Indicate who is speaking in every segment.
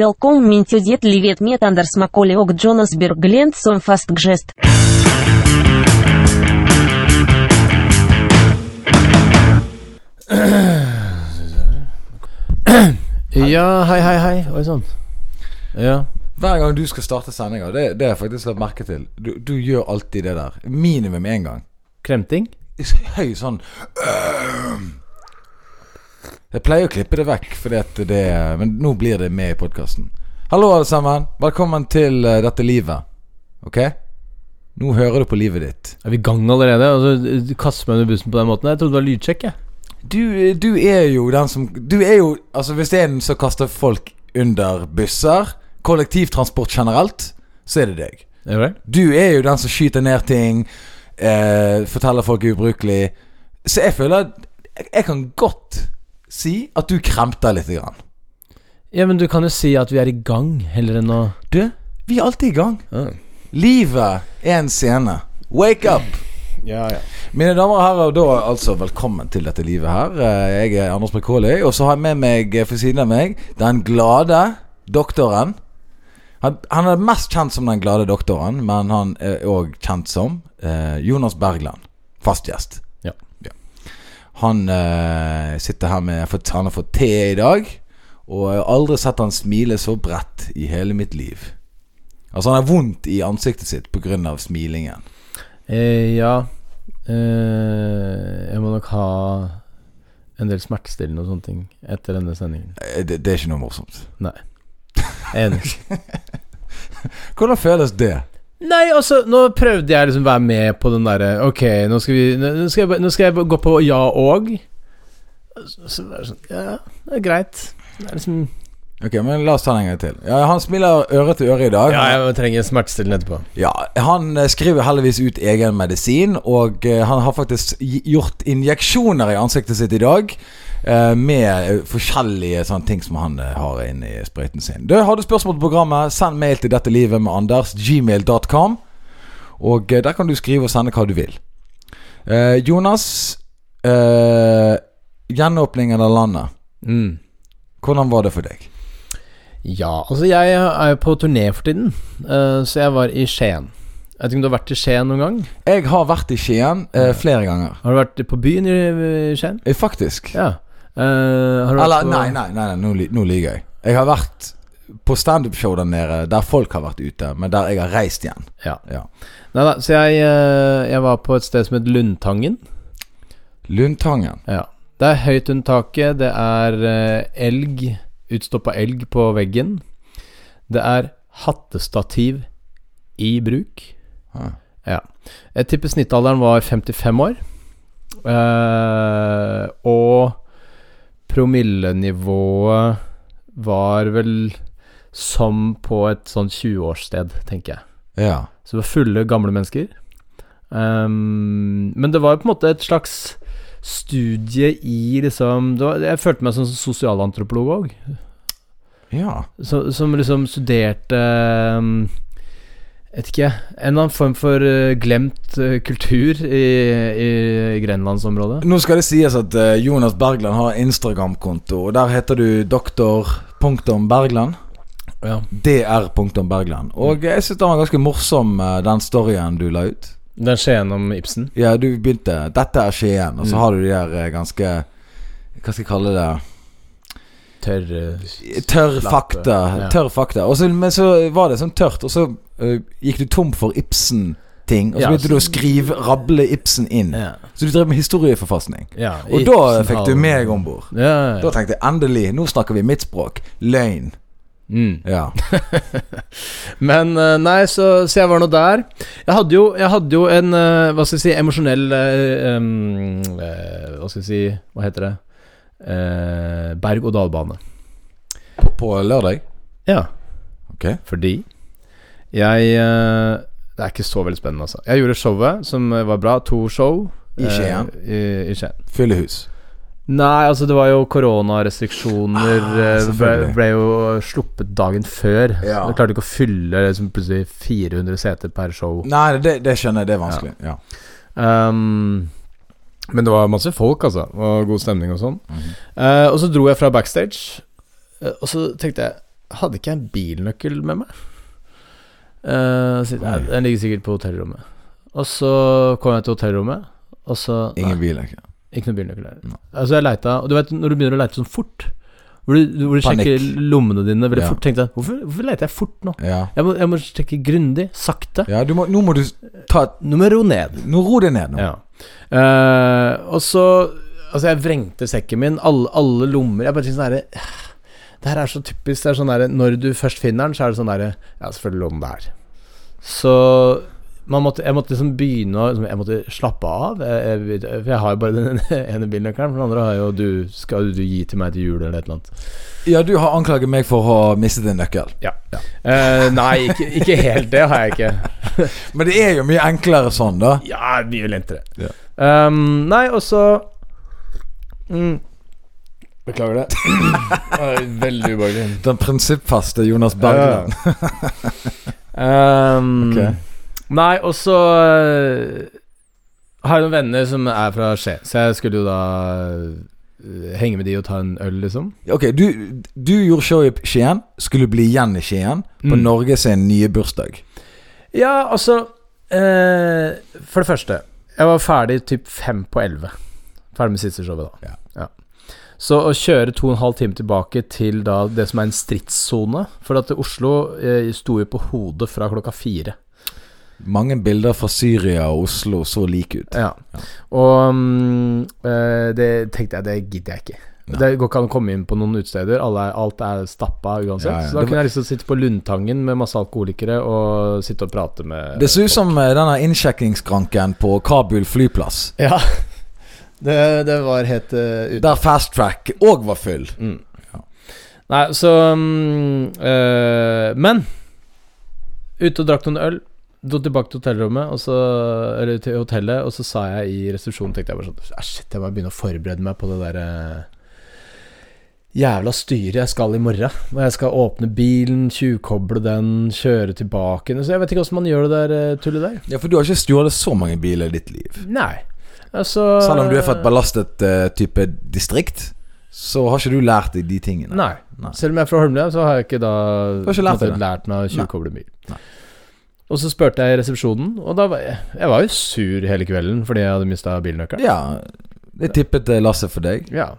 Speaker 1: Velkommen min til det livet mitt Anders Macaulay og Jonas Berglent som fast gest.
Speaker 2: Ja, hei, hei, hei. Oi sann. Ja.
Speaker 3: Hver gang du skal starte sendinger, det, det har jeg faktisk lagt merke til. Du, du gjør alltid det der. Minimum én gang.
Speaker 2: Kremting?
Speaker 3: Høy sånn «Øhm». Jeg pleier å klippe det vekk, fordi at det Men nå blir det med i podkasten. Hallo, alle sammen. Velkommen til eh, dette livet. Ok? Nå hører du på livet ditt.
Speaker 2: Er vi i gang allerede? Altså, du kaster meg under bussen på den måten? Jeg trodde det var lydsjekk, jeg.
Speaker 3: Du, du er jo den som Du er jo Altså, hvis det er en som kaster folk under busser, kollektivtransport generelt, så er det deg.
Speaker 2: Ja vel?
Speaker 3: Du er jo den som skyter ned ting, eh, forteller folk er ubrukelig. Så jeg føler at jeg- Jeg kan godt si at du kremter litt. Grann.
Speaker 2: Ja, men du kan jo si at vi er i gang, heller enn å
Speaker 3: Du, vi er alltid i gang.
Speaker 2: Ja,
Speaker 3: Livet er en scene. Wake up!
Speaker 2: ja.
Speaker 3: Mine damer og herrer, da altså velkommen til dette livet her. Eh, Jeg er Anders Brekoli, og så har jeg med meg eh, for siden av meg den glade doktoren. Han, han er mest kjent som den glade doktoren, men han er òg kjent som eh, Jonas Bergland. Fast gjest.
Speaker 2: Ja.
Speaker 3: Han eh, sitter her med for- Han har fått te i dag. Og jeg har aldri sett han smile så bredt i hele mitt liv. Altså, han har vondt i ansiktet sitt pga. smilingen.
Speaker 2: Eh, ja. Eh, jeg må nok ha en del smertestillende og sånne ting etter denne sendingen.
Speaker 3: Eh, Det, det er ikke noe morsomt.
Speaker 2: Nei. Jeg er Enig.
Speaker 3: Hvordan føles det?
Speaker 2: Nei, altså, nå prøvde jeg liksom å være med på den derre Ok, nå skal vi Nå nå skal jeg, bare- nå skal jeg bare gå på ja og. Så, så, var det sånn, ja, det er greit. Det er liksom
Speaker 3: Ok, men La oss ta den en gang til. Ja, Han smiler øre til øre i dag.
Speaker 2: Ja, jeg trenger smertestillende etterpå.
Speaker 3: Ja, Han eh, skriver heldigvis ut egen medisin, og eh, han har faktisk gi- gjort injeksjoner i ansiktet sitt i dag. eh, Med eh, forskjellige sånne ting som han eh, har inni sprøyten sin. Du, Har du spørsmål til programmet, send mail til dette livet med Anders. Gmail.com. Og eh, der kan du skrive og sende hva du vil. Eh, Jonas. eh, gjenåpningen av landet.
Speaker 2: Mm.
Speaker 3: Hvordan var det for deg?
Speaker 2: Ja, altså jeg er jo på turné for tiden, eh, så jeg var i Skien. Jeg vet ikke om du har vært i Skien noen gang?
Speaker 3: Jeg har vært i Skien eh, flere ganger.
Speaker 2: Har du vært på byen i i Skien?
Speaker 3: Eh, Faktisk.
Speaker 2: Ja. Eh, har du
Speaker 3: Eller,
Speaker 2: vært på,
Speaker 3: nei, nei, nei, nei nå, li- nå lyver jeg. Jeg har vært på standup-show der nede, der folk har vært ute, men der jeg har reist igjen.
Speaker 2: Ja.
Speaker 3: Ja.
Speaker 2: Nei da, så jeg, eh, jeg var på et sted som het Lundtangen.
Speaker 3: Lundtangen.
Speaker 2: Ja. Det er høyt under taket, det er eh, elg, utstoppa elg på veggen. Det er hattestativ i bruk.
Speaker 3: Ah.
Speaker 2: Ja. Jeg tipper snittalderen var 55 år. Eh, og promillenivået var vel som på et sånn 20-årssted, tenker jeg.
Speaker 3: Ja.
Speaker 2: Så det var fulle, gamle mennesker. Ehm, men det var jo på en måte et slags studie i liksom det var, Jeg følte meg som en sosialantropolog òg.
Speaker 3: ja.
Speaker 2: Som, som liksom studerte ehm, Vet ikke En eller annen form for eh, glemt eh, kultur i, i grenlandsområdet.
Speaker 3: Nå skal det sies at eh, Jonas Bergland har Instagram-konto, og der heter du doktor.bergland.
Speaker 2: Ja.
Speaker 3: Dr.bergland. Og eh, jeg syns den var ganske morsom, eh, den storyen du la ut.
Speaker 2: Den skjeen om Ibsen.
Speaker 3: Ja, du begynte 'Dette er Skien', og så
Speaker 2: Mm.
Speaker 3: har du de der eh, ganske Hva skal jeg kalle det?
Speaker 2: Tørr eh,
Speaker 3: Tørr
Speaker 2: Slappe.
Speaker 3: fakta.
Speaker 2: Ja.
Speaker 3: Tørr fakta. Og så, men så var det sånn tørt, og så øh, gikk du tom for Ibsen-ting. Og så
Speaker 2: Ja,
Speaker 3: begynte
Speaker 2: så-
Speaker 3: du å skrive, rable Ibsen inn.
Speaker 2: Ja.
Speaker 3: Så du drev med historieforfalskning.
Speaker 2: ja
Speaker 3: Og da fikk du meg om bord.
Speaker 2: Ja, ja,
Speaker 3: Da
Speaker 2: ja.
Speaker 3: tenkte jeg endelig, nå snakker vi mitt språk. Løgn.
Speaker 2: Mm.
Speaker 3: Ja.
Speaker 2: Men eh, nei, så, så jeg var nå der. Jeg hadde jo, jeg hadde jo en eh, hva skal jeg si, emosjonell eh, em, eh, Hva skal jeg si Hva heter det? Eh, Berg-og-dal-bane.
Speaker 3: På, på lørdag.
Speaker 2: Ja.
Speaker 3: Ok.
Speaker 2: Fordi jeg eh, Det er ikke så veldig spennende, altså. Jeg gjorde showet, som eh, var bra. To show.
Speaker 3: I Skien.
Speaker 2: Eh, i, I Skien.
Speaker 3: Fyllehus.
Speaker 2: Nei, altså det var jo koronarestriksjoner.
Speaker 3: Ah,
Speaker 2: eh, ble,
Speaker 3: selvfølgelig.
Speaker 2: ble jo sluppet dagen før.
Speaker 3: Ja.
Speaker 2: Så jeg klarte ikke å fylle liksom, plutselig 400 seter per show.
Speaker 3: Nei, det, det skjønner jeg. Det er vanskelig. Ja.
Speaker 2: Ehm, men det var masse folk, altså. Og god stemning og sånn.
Speaker 3: Mhm.
Speaker 2: Eh, og så dro jeg fra backstage, eh, og så tenkte jeg hadde ikke jeg en bilnøkkel med meg. Eh, så- nei, den ligger sikkert på hotellrommet. Og så kom jeg til hotellrommet, og så nei,
Speaker 3: Ingen bil, ikke?
Speaker 2: ikke noen bilnøkkel der.
Speaker 3: Nei.
Speaker 2: Altså, jeg leita, og du vet når du begynner å leite sånn fort, hvor du, hvor du sjekker
Speaker 3: Panikk.
Speaker 2: lommene dine veldig
Speaker 3: Ja.
Speaker 2: fort, tenkte jeg hvorfor, hvorfor leiter jeg fort nå?
Speaker 3: Ja.
Speaker 2: Jeg må, jeg må sjekke grundig, sakte.
Speaker 3: ja du må, nå må du ta et
Speaker 2: Numero ned.
Speaker 3: Nå ro deg ned nå.
Speaker 2: Ja. Eh, og så Altså, jeg vrengte sekken min, alle, alle lommer Jeg bare tenkte sånn herre Det her er så typisk. Det er sånn derre Når du først finner den, så er det sånn derre Ja, selvfølgelig lå den der. Så man måtte, jeg måtte liksom begynne å liksom, Jeg måtte slappe av. Jeg, jeg, for jeg har jo bare den ene bilnøkkelen. For den andre har jo du Skal jo du gi til meg til jul, eller et eller annet.
Speaker 3: Ja, du har anklaget meg for å ha mistet en nøkkel.
Speaker 2: Ja. Eh, nei, ikke, ikke helt. Det har jeg ikke.
Speaker 3: Men det er jo mye enklere sånn, da.
Speaker 2: Ja, mye lentere.
Speaker 3: Ja.
Speaker 2: Ehm, nei, og så mm. Beklager det. Det var Veldig ubehagelig.
Speaker 3: Den prinsippfaste Jonas Bergland.
Speaker 2: Ja. Ehm,
Speaker 3: Ok.
Speaker 2: Nei, og så eh, har jeg noen venner som er fra Skien, så jeg skulle jo da eh, henge med de og ta en øl, liksom.
Speaker 3: Ok, du, du gjorde show i Skien. Skulle bli igjen i Skien på
Speaker 2: Mm.
Speaker 3: Norge sin nye bursdag.
Speaker 2: Ja, altså eh, For det første, jeg var ferdig typ fem på elleve. Ferdig med siste showet, da. Ja. Så å kjøre to og en halv time tilbake til da det som er en stridssone For at Oslo eh, sto jo på hodet fra klokka fire.
Speaker 3: Mange bilder fra Syria og Oslo så like ut.
Speaker 2: Ja. Og mm, eh, det tenkte jeg, det gidder jeg ikke.
Speaker 3: Nei.
Speaker 2: Det går ikke an å komme inn på noen utesteder. Alle er- Alt er stappa uansett.
Speaker 3: Ja, ja.
Speaker 2: Så da
Speaker 3: Det var-
Speaker 2: kunne jeg liksom sitte på Lundtangen med masse alkoholikere og sitte og prate med
Speaker 3: Det ser ut som eh, denne innsjekkingsskranken på Kabul flyplass.
Speaker 2: Ja. Det, det var helt uh,
Speaker 3: Der Fast Track òg var full.
Speaker 2: Nei, så mm, eh, Men ute og drakk noen øl. Dro tilbake til hotellrommet og så, Eller til hotellet, og så sa jeg i resepsjonen Tenkte jeg bare sånn «Ah, Shit, jeg må begynne å forberede meg på det der eh, Jævla styret jeg skal i morgen. Hvor jeg skal åpne bilen, tjuvkoble den, kjøre tilbake Så Jeg vet ikke åssen man gjør det der eh, tullet der.
Speaker 3: Ja, For du har ikke stjålet så mange biler i ditt liv.
Speaker 2: Nei. Altså
Speaker 3: Selv om du er fra et ballastet eh, type distrikt, så har ikke du lært deg de tingene.
Speaker 2: Nei.
Speaker 3: Nei.
Speaker 2: Selv om jeg er fra Holmlia, så har jeg ikke da
Speaker 3: har ikke lært
Speaker 2: på en måte
Speaker 3: deg det.
Speaker 2: lært meg å tjuvkoble
Speaker 3: Nei.
Speaker 2: bil. Og så spurte jeg i resepsjonen, og da var jeg, jeg var jo sur hele kvelden fordi jeg hadde mista bilnøkkelen.
Speaker 3: Ja, jeg tippet det lasset for deg.
Speaker 2: Ja.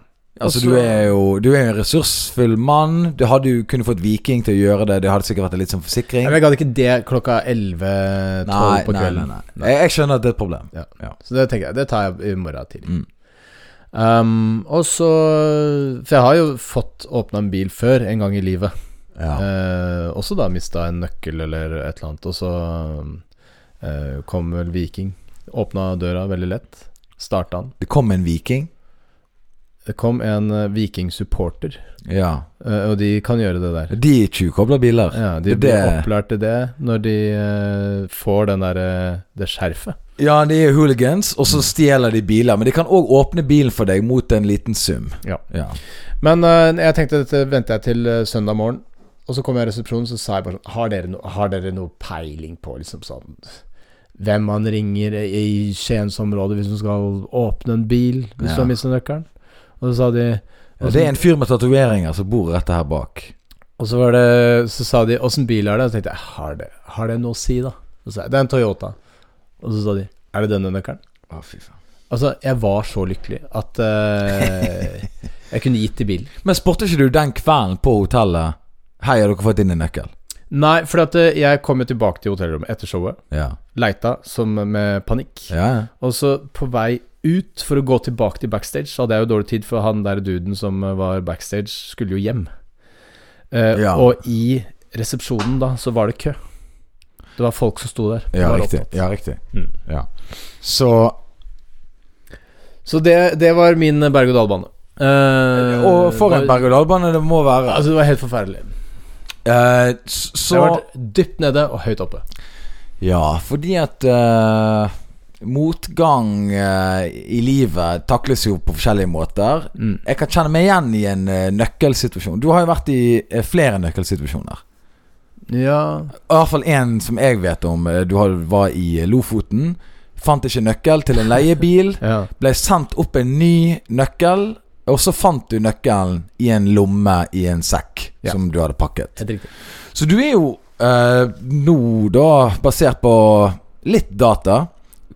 Speaker 2: Og så-
Speaker 3: Altså, du er jo du er en ressursfull mann. Du hadde jo kunnet fått Viking til å gjøre det. Det hadde sikkert vært en litt sånn forsikring.
Speaker 2: Men jeg gadd ikke det klokka 11-12
Speaker 3: Nei,
Speaker 2: på
Speaker 3: nei,
Speaker 2: kvelden.
Speaker 3: nei, nei. Jeg, jeg skjønner at det er et problem.
Speaker 2: Ja.
Speaker 3: Ja.
Speaker 2: Så det tenker jeg, det tar jeg i morgen tidlig.
Speaker 3: Mm.
Speaker 2: Um, og så For jeg har jo fått åpna en bil før, en gang i livet.
Speaker 3: Ja.
Speaker 2: Eh, også da mista en nøkkel eller et eller annet, og så eh, kom vel Viking. Åpna døra veldig lett. Starta han.
Speaker 3: Det kom en viking.
Speaker 2: Det kom en eh, Viking-supporter,
Speaker 3: Ja.
Speaker 2: eh, og de kan gjøre det der.
Speaker 3: De tjuvkobler biler.
Speaker 2: Ja, De
Speaker 3: Det-
Speaker 2: blir opplært til det når de eh, får den der, eh, det skjerfet.
Speaker 3: Ja, de er hooligans, og så stjeler de biler. Men de kan òg åpne bilen for deg mot en liten sum.
Speaker 2: Ja.
Speaker 3: Ja.
Speaker 2: Men eh, jeg tenkte dette venter jeg til eh, søndag morgen. Og så kom jeg i resepsjonen, så sa jeg bare sånn Har dere, no, har dere noe peiling på liksom sånn hvem man ringer i Skiensområdet hvis man skal åpne en bil hvis
Speaker 3: Ja.
Speaker 2: du har mistet nøkkelen? Og så sa de
Speaker 3: Og
Speaker 2: Altså-
Speaker 3: det er en fyr med tatoveringer som bor rett her bak.
Speaker 2: Og så, var det, så sa de 'åssen bil er det?' Og så tenkte jeg har det, 'har det noe å si', da? Så sa jeg 'det er en Toyota'. Og så sa de 'er det denne nøkkelen'?
Speaker 3: Å, fy faen.
Speaker 2: Altså, jeg var så lykkelig at eh, jeg kunne gitt til bilen.
Speaker 3: Men spurte ikke du den kvelden på hotellet Hei, har dere fått inn en nøkkel?
Speaker 2: Nei, for at eh, jeg kom jo tilbake til hotellrommet etter showet.
Speaker 3: Ja.
Speaker 2: Leita som med panikk.
Speaker 3: ja. ja.
Speaker 2: Og så på vei ut for å gå tilbake til backstage, så hadde jeg jo dårlig tid, for han der duden som var backstage, skulle jo hjem. Eh,
Speaker 3: Ja.
Speaker 2: Og i resepsjonen da, så var det kø. Det var folk som sto der.
Speaker 3: Ja,
Speaker 2: Var
Speaker 3: riktig.
Speaker 2: opptatt.
Speaker 3: Ja, riktig.
Speaker 2: Mm.
Speaker 3: Ja. Så
Speaker 2: Så det, det var min berg-og-dal-bane. Eh,
Speaker 3: Og for en
Speaker 2: det var-
Speaker 3: berg-og-dal-bane det må være.
Speaker 2: Altså, det var helt forferdelig.
Speaker 3: Eh, s-
Speaker 2: Så... Jeg
Speaker 3: så
Speaker 2: har vært dypt nede og høyt oppe.
Speaker 3: Ja, fordi at eh, motgang eh, i livet takles jo på forskjellige måter.
Speaker 2: Mm.
Speaker 3: Jeg kan kjenne meg igjen i en eh, nøkkelsituasjon. Du har jo vært i eh, flere nøkkelsituasjoner.
Speaker 2: Ja
Speaker 3: I hvert fall en som jeg vet om. eh, Du har- var i eh, Lofoten. Fant ikke nøkkel til en leiebil.
Speaker 2: Ja.
Speaker 3: Ble sendt opp en ny nøkkel. Og så fant du nøkkelen i en lomme i en sekk
Speaker 2: Ja.
Speaker 3: som du hadde pakket.
Speaker 2: Helt riktig.
Speaker 3: Så du er jo eh, nå, da, basert på litt data,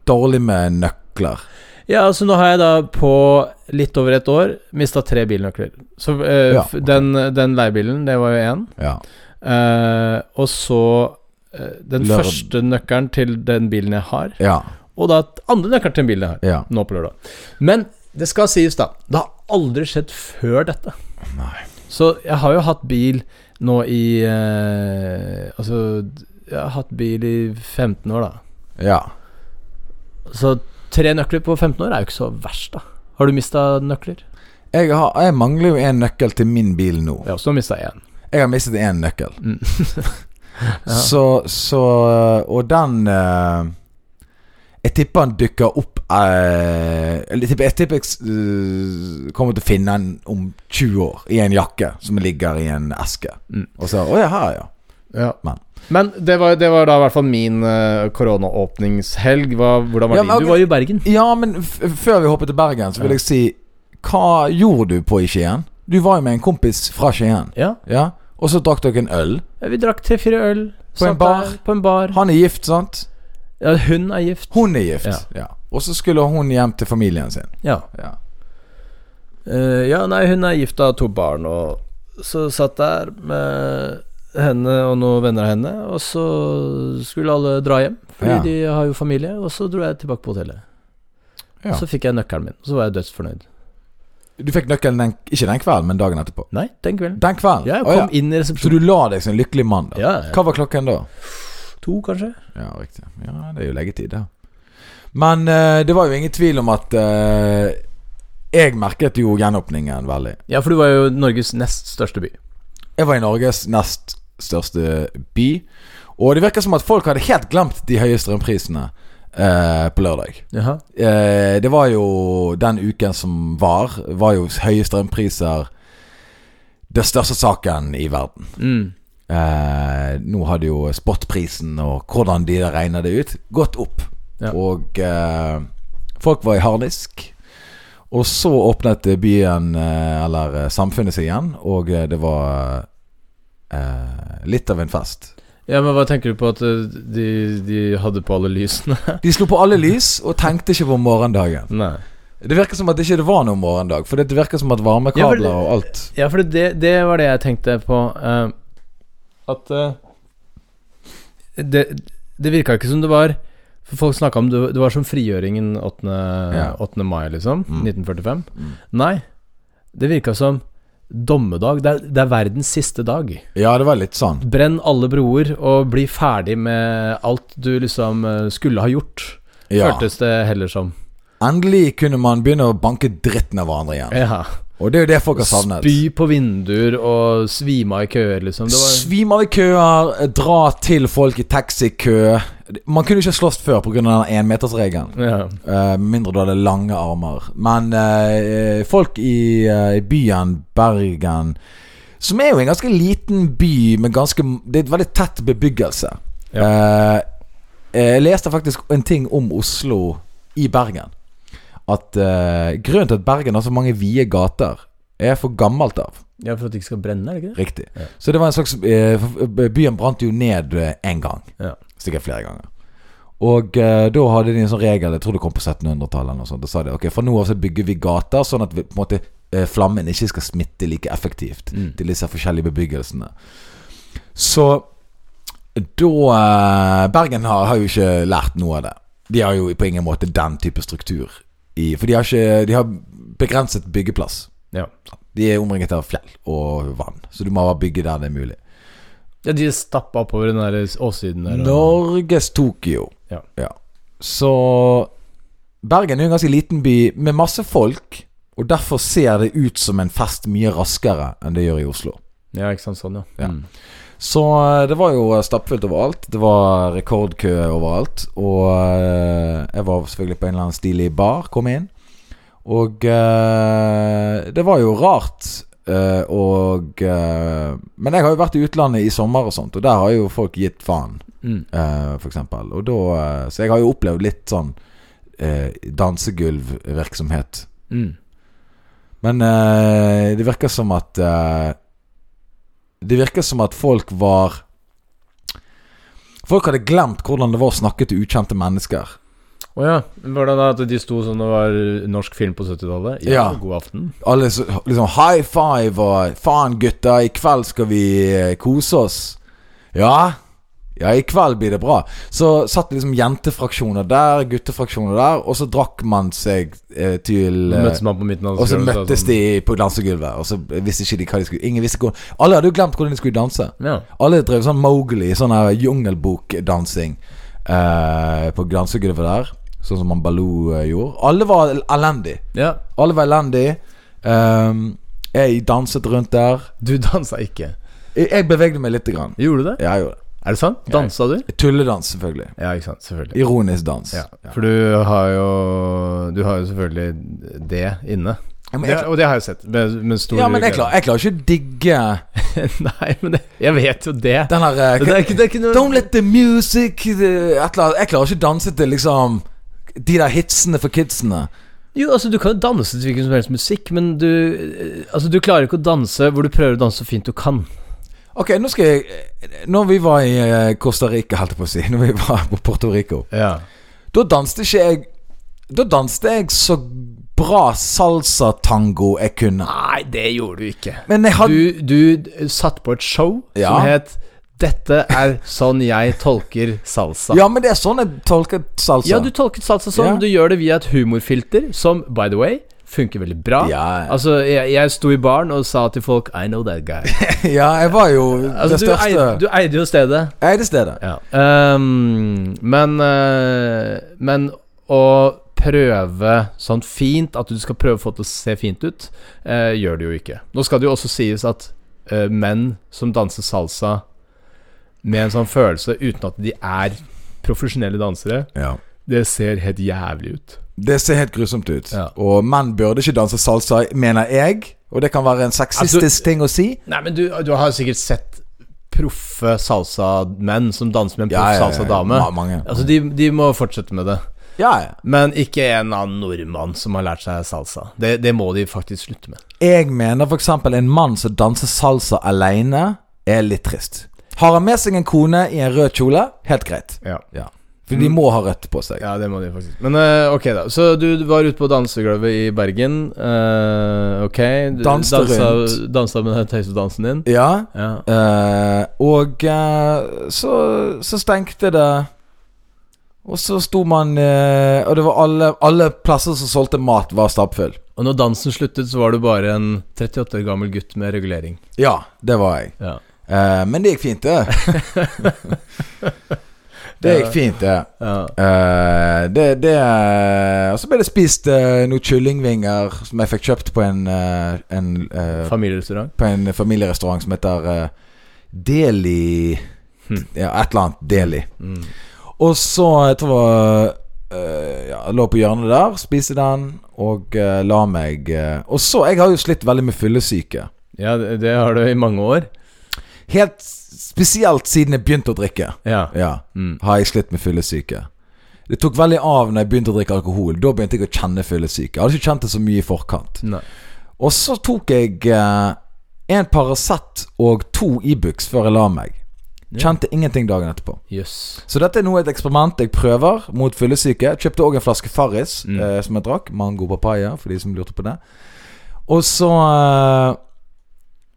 Speaker 3: dårlig med nøkler.
Speaker 2: Ja, altså nå har jeg da på litt over et år mista tre bilnøkler. Så eh,
Speaker 3: Ja,
Speaker 2: f- den, den leiebilen, det var jo én.
Speaker 3: Ja.
Speaker 2: Eh, og så eh, den
Speaker 3: Lørdag.
Speaker 2: første nøkkelen til den bilen jeg har,
Speaker 3: Ja.
Speaker 2: og da t- andre nøkkelen til den bilen jeg har.
Speaker 3: ja.
Speaker 2: Nå på lørdag. Men det skal sies, da. Det har aldri skjedd før dette.
Speaker 3: Nei.
Speaker 2: Så jeg har jo hatt bil nå i eh, Altså, jeg har hatt bil i 15 år, da.
Speaker 3: Ja.
Speaker 2: Så tre nøkler på 15 år er jo ikke så verst, da. Har du mista nøkler?
Speaker 3: Jeg, har, jeg mangler jo en nøkkel til min bil nå.
Speaker 2: Jeg har også mista én.
Speaker 3: Jeg har mistet én nøkkel.
Speaker 2: Mm. Ja.
Speaker 3: Så, så Og den eh, Jeg tipper han dukker opp eh, eller Jeg tipper jeg, tipper jeg s- eh, kommer til å finne den om 20 år i en jakke som ligger i en eske.
Speaker 2: Mm.
Speaker 3: Og så Å ja, her, ja. Men.
Speaker 2: Men det var, det var da i hvert fall min eh, koronaåpningshelg. Hva- Hvordan var
Speaker 3: Ja,
Speaker 2: det?
Speaker 3: men-
Speaker 2: Du var jo i Bergen.
Speaker 3: Ja, men f før vi hopper til Bergen, så vil
Speaker 2: Ja.
Speaker 3: jeg si Hva gjorde du på i Skien? Du var jo med en kompis fra Skien.
Speaker 2: Ja.
Speaker 3: Ja? Og så drakk dere en øl.
Speaker 2: Vi drakk tre-fire øl.
Speaker 3: På
Speaker 2: satt
Speaker 3: en bar?
Speaker 2: der På en bar.
Speaker 3: Han er gift, sant?
Speaker 2: Ja, hun er gift.
Speaker 3: Hun er gift.
Speaker 2: Ja.
Speaker 3: Ja. Og så skulle hun hjem til familien sin.
Speaker 2: Ja.
Speaker 3: Ja.
Speaker 2: Eh, ja, nei, hun er gift og har to barn, og så satt der med henne og noen venner av henne, og så skulle alle dra hjem, fordi
Speaker 3: Ja.
Speaker 2: de har jo familie, og så dro jeg tilbake på hotellet.
Speaker 3: Ja.
Speaker 2: Og så fikk jeg nøkkelen min, og så var jeg dødsfornøyd.
Speaker 3: Du fikk nøkkelen den, ikke den kvelden, men dagen etterpå.
Speaker 2: Nei, den kvelden.
Speaker 3: Den kvelden?
Speaker 2: Ja, jeg
Speaker 3: Å,
Speaker 2: kom
Speaker 3: ja.
Speaker 2: inn i
Speaker 3: Så du
Speaker 2: resepsjonen.
Speaker 3: la deg som en lykkelig mann, da?
Speaker 2: Ja, ja.
Speaker 3: Hva var klokken da?
Speaker 2: to, kanskje?
Speaker 3: Ja, riktig. Ja, det er jo leggetid, det. Men eh, det var jo ingen tvil om at eh, Jeg merket jo gjenåpningen veldig.
Speaker 2: Ja, for du var jo Norges nest største by.
Speaker 3: Jeg var i Norges nest største by, og det virker som at folk hadde helt glemt de høye strømprisene eh, på lørdag.
Speaker 2: Jaha.
Speaker 3: Eh, det var jo den uken som var, var jo høye strømpriser den største saken i verden.
Speaker 2: Mm.
Speaker 3: Eh, nå hadde jo spotprisen og hvordan de der regner det ut, gått opp.
Speaker 2: Ja.
Speaker 3: Og eh, folk var i harnisk. Og så åpnet byen, eh, eller eh, samfunnet seg igjen, og eh, det var eh, litt av en fest.
Speaker 2: Ja, men hva tenker du på at eh, de, de hadde på alle lysene?
Speaker 3: De slo på alle lys og tenkte ikke på morgendagen.
Speaker 2: Nei.
Speaker 3: Det virker som at det ikke var noen morgendag. For det virker som at varmekabler
Speaker 2: Ja, for
Speaker 3: og alt
Speaker 2: Ja, for det, det var det jeg tenkte på. eh, at eh, det, det virka ikke som det var For folk snakka om det, det var som frigjøringen 8.
Speaker 3: Ja.
Speaker 2: 8. mai, liksom.
Speaker 3: Mm.
Speaker 2: 1945.
Speaker 3: Mm.
Speaker 2: Nei, det virka som dommedag. Det er, det er verdens siste dag.
Speaker 3: Ja, det var litt sånn.
Speaker 2: Brenn alle broer og bli ferdig med alt du liksom eh, skulle ha gjort.
Speaker 3: Ja.
Speaker 2: Føltes det heller som.
Speaker 3: Endelig kunne man begynne å banke dritten av hverandre igjen.
Speaker 2: Ja.
Speaker 3: Og det er jo det folk har savnet.
Speaker 2: Spy på vinduer og svime av i køer, liksom. Det var
Speaker 3: Svim av i køer, dra til folk i taxikø. Man kunne jo ikke slåss før pga. den énmetersregelen.
Speaker 2: ja.
Speaker 3: Eh, Med mindre du hadde lange armer. Men eh, folk i eh, i byen Bergen, som er jo en ganske liten by med ganske Det er et veldig tett bebyggelse.
Speaker 2: Ja.
Speaker 3: Eh, eh, jeg leste faktisk en ting om Oslo i Bergen. At eh, grunnen til at Bergen har så mange vide gater, er for gammelt av.
Speaker 2: Ja, for at det ikke skal brenne, er det ikke det?
Speaker 3: Riktig. Så det var en slags eh, for- Byen brant jo ned eh, en gang.
Speaker 2: Ja.
Speaker 3: Sikkert flere ganger. Og eh, da hadde de en sånn regel, jeg tror det kom på 1700-tallet eller noe sånt. Da sa de ok, fra nå av så bygger vi gater sånn at vi, på en måte eh, flammen ikke skal smitte like effektivt
Speaker 2: Mm.
Speaker 3: til disse forskjellige bebyggelsene. Så da eh, Bergen har, har jo ikke lært noe av det. De har jo på ingen måte den type struktur. I, for de har ikke De har begrenset byggeplass.
Speaker 2: Ja.
Speaker 3: De er omringet av fjell og vann, så du må bare bygge der det er mulig.
Speaker 2: ja de stappa oppover den der åssiden der. og-
Speaker 3: Norges Tokyo.
Speaker 2: Ja.
Speaker 3: Så Bergen er jo en ganske liten by med masse folk, og derfor ser det ut som en fest mye raskere enn det gjør i Oslo.
Speaker 2: Ja, ikke sant. Sånn, ja.
Speaker 3: Ja.
Speaker 2: Mm.
Speaker 3: Så eh, det var jo eh, stappfullt overalt. Det var rekordkø overalt. Og eh, jeg var selvfølgelig på en eller annen stilig bar, kom inn. Og eh, det var jo rart. eh, og eh, Men jeg har jo vært i utlandet i sommer og sånt, og der har jo folk gitt faen,
Speaker 2: Mm.
Speaker 3: eh, for eksempel. Og da, eh, så jeg har jo opplevd litt sånn eh, dansegulvvirksomhet.
Speaker 2: Mm.
Speaker 3: Men eh, det virker som at eh, Det virker som at folk var Folk hadde glemt hvordan det var å snakke til ukjente mennesker.
Speaker 2: Å ja. Var det da at de sto sånn og var norsk film på 70-tallet?
Speaker 3: Ja.
Speaker 2: God aften.
Speaker 3: Alle så, liksom high five og 'Faen, gutta, i kveld skal vi eh, kose oss'. Ja. Ja, i kveld blir det bra. Så satt det liksom jentefraksjoner der, guttefraksjoner der, og så drakk man seg eh, til eh,
Speaker 2: Møttes man på midten av
Speaker 3: Og så
Speaker 2: skolen, sa
Speaker 3: møttes
Speaker 2: sånn-
Speaker 3: de på dansegulvet, og så visste ikke de hva de skulle Ingen visste hvor Alle hadde jo glemt hvordan de skulle danse.
Speaker 2: Ja.
Speaker 3: Alle drev sånn Mowgli, sånn her jungelbokdansing eh, på dansegulvet der. Sånn som han Baloo eh, gjorde. Alle var el- elendig.
Speaker 2: ja.
Speaker 3: Alle var elendig. Ehm, jeg danset rundt der.
Speaker 2: Du dansa ikke.
Speaker 3: Jeg, jeg bevegde meg lite grann.
Speaker 2: Gjorde du det?
Speaker 3: Ja, jeg gjorde det.
Speaker 2: Er det sant? Dansa du?
Speaker 3: Tulledans, selvfølgelig.
Speaker 2: Ja, ikke sant. Selvfølgelig.
Speaker 3: Ironisk dans.
Speaker 2: Ja, For du har jo Du har jo selvfølgelig det inne.
Speaker 3: Ja, men
Speaker 2: Det,
Speaker 3: jeg,
Speaker 2: og det har jeg sett. Med, med stor
Speaker 3: ja, men jeg,
Speaker 2: glede.
Speaker 3: klarer, jeg klarer ikke å digge
Speaker 2: Nei, men det, jeg vet jo det.
Speaker 3: den her eh,
Speaker 2: Det er ikke, det er ikke noe
Speaker 3: Don't let the music the- et eller annet. Jeg klarer ikke å danse til liksom de der hitsene for kidsene.
Speaker 2: Jo, altså Du kan jo danse til hvilken som helst musikk, men du eh, Altså du klarer ikke å danse hvor du prøver å danse så fint du kan.
Speaker 3: Ok, nå skal jeg Når vi var i eh, Costa Rica, holdt jeg på å si, når vi var på Puerto Rico,
Speaker 2: Ja
Speaker 3: da danset ikke jeg Da danset jeg så bra salsa-tango jeg kunne.
Speaker 2: Nei, det gjorde du ikke.
Speaker 3: Men jeg hadde
Speaker 2: Du, du eh, satt på et show
Speaker 3: Ja.
Speaker 2: som het 'Dette er sånn jeg tolker salsa'.
Speaker 3: Ja, men det er sånn jeg tolker salsa.
Speaker 2: Ja, du tolket salsa sånn.
Speaker 3: Ja.
Speaker 2: Du gjør det via et humorfilter, som by the way funker veldig bra.
Speaker 3: Ja, ja.
Speaker 2: Altså, jeg, jeg sto i baren og sa til folk 'I know that guy'.
Speaker 3: ja, jeg var jo
Speaker 2: Altså,
Speaker 3: det
Speaker 2: du, eide,
Speaker 3: største
Speaker 2: du eide jo stedet.
Speaker 3: Jeg eide stedet.
Speaker 2: Ja. Ehm, men, eh, men å prøve sånn fint, at du skal prøve å få det til å se fint ut, eh, gjør det jo ikke. Nå skal det jo også sies at eh, menn som danser salsa med en sånn følelse uten at de er profesjonelle dansere,
Speaker 3: Ja.
Speaker 2: det ser helt jævlig ut.
Speaker 3: Det ser helt grusomt ut.
Speaker 2: Ja.
Speaker 3: Og menn burde ikke danse salsa, mener jeg. Og det kan være en sexistisk
Speaker 2: Altså-
Speaker 3: ting å si.
Speaker 2: Nei, men du, du har sikkert sett proffe salsamenn som danser med en
Speaker 3: Ja,
Speaker 2: proff
Speaker 3: ja, ja, ja.
Speaker 2: salsadame.
Speaker 3: Ma- mange.
Speaker 2: Altså, de, de må fortsette med det.
Speaker 3: Ja, ja.
Speaker 2: Men ikke en annen nordmann som har lært seg salsa. Det, det må de faktisk slutte med.
Speaker 3: Jeg mener f.eks. en mann som danser salsa aleine, er litt trist. Har han med seg en kone i en rød kjole, helt greit.
Speaker 2: Ja,
Speaker 3: Ja. For de må ha rødt på seg.
Speaker 2: det må de faktisk. Men eh, ok, da. Så du var ute på dansegulvet i Bergen. eh, ok. Du
Speaker 3: Danste
Speaker 2: dansa,
Speaker 3: rundt.
Speaker 2: dansa med den høyeste dansen din.
Speaker 3: Ja.
Speaker 2: Ja.
Speaker 3: eh, og eh, så, så stengte det Og så sto man eh, Og det var alle, alle plasser som solgte mat, var stappfull.
Speaker 2: Og når dansen sluttet, så var du bare en 38 år gammel gutt med regulering.
Speaker 3: Ja, det var jeg.
Speaker 2: Ja.
Speaker 3: Eh, men det gikk fint, det. det gikk fint, det.
Speaker 2: ja.
Speaker 3: Eh, det, det eh, Og så ble det spist eh, noen kyllingvinger som jeg fikk kjøpt på en, eh, en eh,
Speaker 2: Familierestaurant.
Speaker 3: På en familierestaurant som heter eh, Deli Ja, et eller annet. Deli. Og så, jeg tror eh, ja, jeg lå på hjørnet der, spiste den og eh, la meg eh, Og så Jeg har jo slitt veldig med fyllesyke.
Speaker 2: Ja, det, det har du i mange år.
Speaker 3: Helt spesielt siden jeg begynte å drikke.
Speaker 2: Ja.
Speaker 3: Ja, har jeg slitt med fyllesyke. Det tok veldig av når jeg begynte å drikke alkohol. Da begynte jeg å kjenne fyllesyke. Jeg hadde ikke kjent det så mye i forkant.
Speaker 2: Nei.
Speaker 3: Og så tok jeg eh, en Paracet og to Ibux før jeg la meg. Kjente ingenting dagen etterpå.
Speaker 2: Jøss.
Speaker 3: Så dette er nå et eksperiment jeg prøver mot fyllesyke. Kjøpte òg en flaske Farris eh, som jeg drakk. Mango papaya, for de som lurte på det. Og så eh,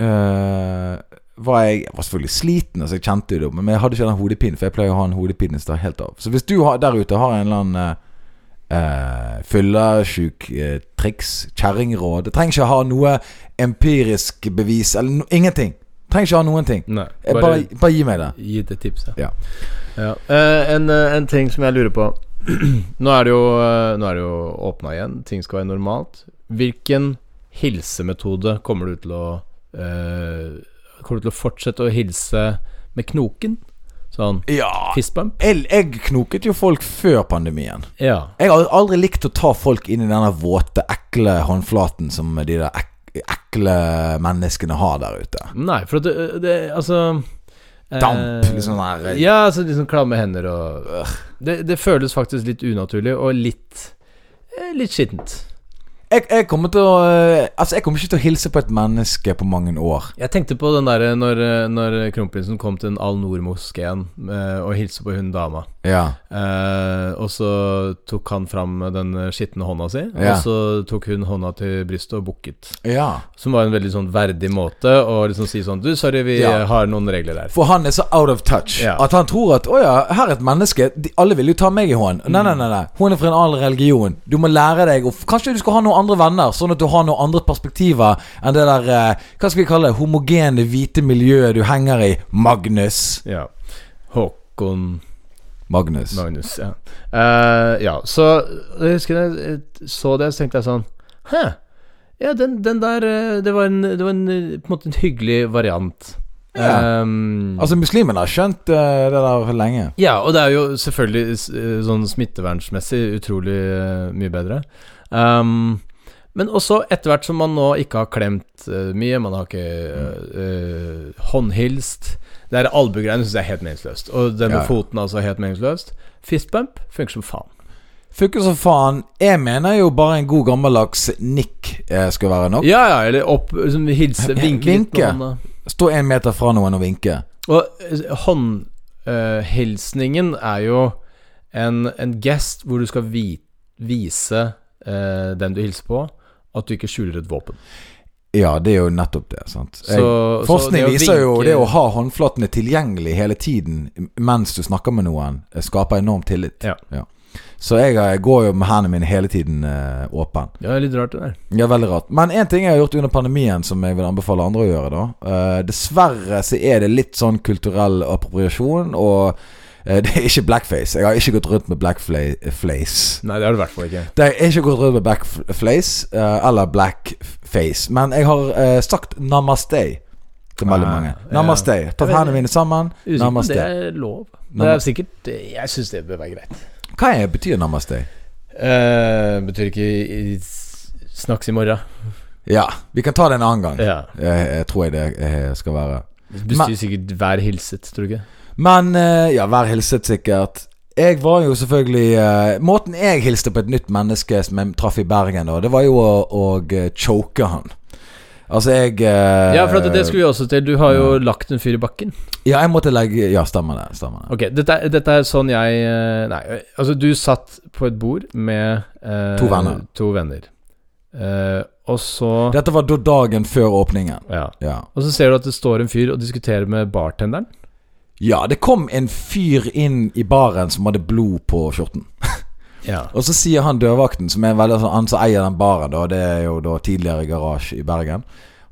Speaker 3: eh, var jeg, jeg var selvfølgelig sliten, altså jeg kjente jo det, men jeg hadde ikke den hodepinen, for jeg pleier å ha en hodepine som tar helt av. Så hvis du har, der ute har en eller annen uh, fyllesjuk eh, triks, kjerringråd Det trenger ikke ha noe empirisk bevis, eller no, ingenting. Trenger ikke ha noen ting.
Speaker 2: Nei.
Speaker 3: Eh, Bare, bare, gi meg det.
Speaker 2: Gi det tipset.
Speaker 3: Ja.
Speaker 2: Ja. Eh, en, eh, en ting som jeg lurer på Nå er det jo, eh, nå er det jo åpna igjen, ting skal være normalt. Hvilken hilsemetode kommer du til å eh, Kommer du til å fortsette å hilse med knoken? Sånn
Speaker 3: Ja,
Speaker 2: fistbump?
Speaker 3: jeg, jeg knoket jo folk før pandemien.
Speaker 2: Ja.
Speaker 3: Jeg har aldri likt å ta folk inn i denne våte, ekle håndflaten som de der ek ekle menneskene har der ute.
Speaker 2: Nei, for at det, det Altså eh,
Speaker 3: Damp, liksom sånn der-
Speaker 2: Ja, altså liksom klamme hender og det, det føles faktisk litt unaturlig og litt eh, Litt skittent.
Speaker 3: Jeg, jeg kommer til å eh, Altså, jeg kommer ikke til å hilse på et menneske på mange år.
Speaker 2: Jeg tenkte på den derre når, eh, når kronprinsen kom til den Al-Noor-moskeen eh, og hilste på hun dama.
Speaker 3: Ja.
Speaker 2: Eh, og så tok han fram den skitne hånda si,
Speaker 3: Ja.
Speaker 2: og så tok hun hånda til brystet og bukket.
Speaker 3: ja.
Speaker 2: Som var en veldig sånn verdig måte å liksom si sånn Du, sorry, vi
Speaker 3: Ja.
Speaker 2: eh, har noen regler der.
Speaker 3: For han er så out of touch
Speaker 2: Ja.
Speaker 3: at han tror at 'Å ja, her er et menneske. De, alle vil jo ta meg i hånden'.
Speaker 2: Mm.
Speaker 3: Nei, nei, nei, nei. Hun er fra en annen religion. Du må lære deg å f- Kanskje du skal ha noen andre venner, sånn at du har noen andre perspektiver enn det der eh, Hva skal vi kalle det? Homogene, hvite miljøet du henger i. Magnus.
Speaker 2: Ja. Håkon
Speaker 3: Magnus.
Speaker 2: Magnus, ja. Eh, ja, så jeg husker jeg eh, så det, så tenkte jeg sånn Hæ? Ja, den, den der eh, Det var, en, det var en, eh, på en måte en hyggelig variant.
Speaker 3: Ja.
Speaker 2: Ehm,
Speaker 3: Altså, muslimene har skjønt eh, det der for lenge.
Speaker 2: ja, og det er jo selvfølgelig s- eh, sånn smittevernsmessig utrolig eh, mye bedre. Ehm, men også etter hvert som man nå ikke har klemt eh, mye, man har ikke eh, eh, håndhilst Det der albuegreiene syns jeg er helt meningsløst. Og det med
Speaker 3: Ja.
Speaker 2: foten altså er helt meningsløst. Fistbump funker som faen.
Speaker 3: Funker som faen. Jeg mener jo bare en god gammeldags nikk eh, skal være nok.
Speaker 2: Ja, ja, eller opp liksom, Hilse,
Speaker 3: Ja,
Speaker 2: vinke litt
Speaker 3: vinke.
Speaker 2: med hånda.
Speaker 3: Stå en meter fra noen og vinke.
Speaker 2: Og eh, håndhilsningen er jo en, en gest hvor du skal vi, vise eh, den du hilser på, at du ikke skjuler et våpen.
Speaker 3: Ja, det er jo nettopp det. sant
Speaker 2: Så-
Speaker 3: Jeg-
Speaker 2: så
Speaker 3: Forskning
Speaker 2: det å
Speaker 3: viser jo
Speaker 2: vinke-
Speaker 3: det å ha håndflatene tilgjengelig hele tiden mens du snakker med noen, eh, skaper enorm tillit.
Speaker 2: Ja.
Speaker 3: Så jeg eh, går jo med hendene mine hele tiden eh, åpen.
Speaker 2: Ja, det er litt rart, det der.
Speaker 3: Ja, veldig rart. Men én ting jeg har gjort under pandemien som jeg vil anbefale andre å gjøre, da. Eh, dessverre så er det litt sånn kulturell appropriasjon, og eh, det er ikke blackface. Jeg har ikke gått rundt med blackface.
Speaker 2: Nei, det har du i hvert fall ikke.
Speaker 3: Det er ikke gått rundt med blackface eh, eller blackface, men jeg har eh, sagt namaste til veldig
Speaker 2: Ah,
Speaker 3: mange.
Speaker 2: ja.
Speaker 3: Namaste.
Speaker 2: Jeg
Speaker 3: Tatt
Speaker 2: vet-
Speaker 3: hendene mine sammen.
Speaker 2: Usikker på om det
Speaker 3: Namaste.
Speaker 2: er lov. Det
Speaker 3: Namaste.
Speaker 2: er sikkert Jeg syns det bør være greit.
Speaker 3: Hva er, betyr namaste?
Speaker 2: Eh, betyr ikke i, snakks i morgen.
Speaker 3: Ja, vi kan ta det en annen gang.
Speaker 2: Ja.
Speaker 3: Jeg, jeg tror jeg det eh, skal være.
Speaker 2: Det betyr sikkert 'vær hilset', tror du ikke?
Speaker 3: Men eh, ja, vær hilset, sikkert. Jeg var jo selvfølgelig eh, Måten jeg hilste på et nytt menneske som jeg traff i Bergen, da, det var jo å, å eh, choke han. Altså, jeg eh,
Speaker 2: Ja, for at det skulle vi også til. Du har jo lagt en fyr i bakken.
Speaker 3: Ja, jeg måtte legge Ja, stemmer det. Stemmer det.
Speaker 2: Ok, dette er, dette er sånn jeg eh, Nei, eh, altså du satt på et bord med eh,
Speaker 3: To venner.
Speaker 2: to venner. Eh, og så
Speaker 3: Dette var da dagen før åpningen.
Speaker 2: ja.
Speaker 3: Ja.
Speaker 2: Og så ser du at det står en fyr og diskuterer med bartenderen.
Speaker 3: ja, det kom en fyr inn i baren som hadde blod på skjorten.
Speaker 2: Ja.
Speaker 3: Og så sier han dørvakten, som er veldig, sånn- han som eier den baren, da, det er jo da tidligere garasje i Bergen.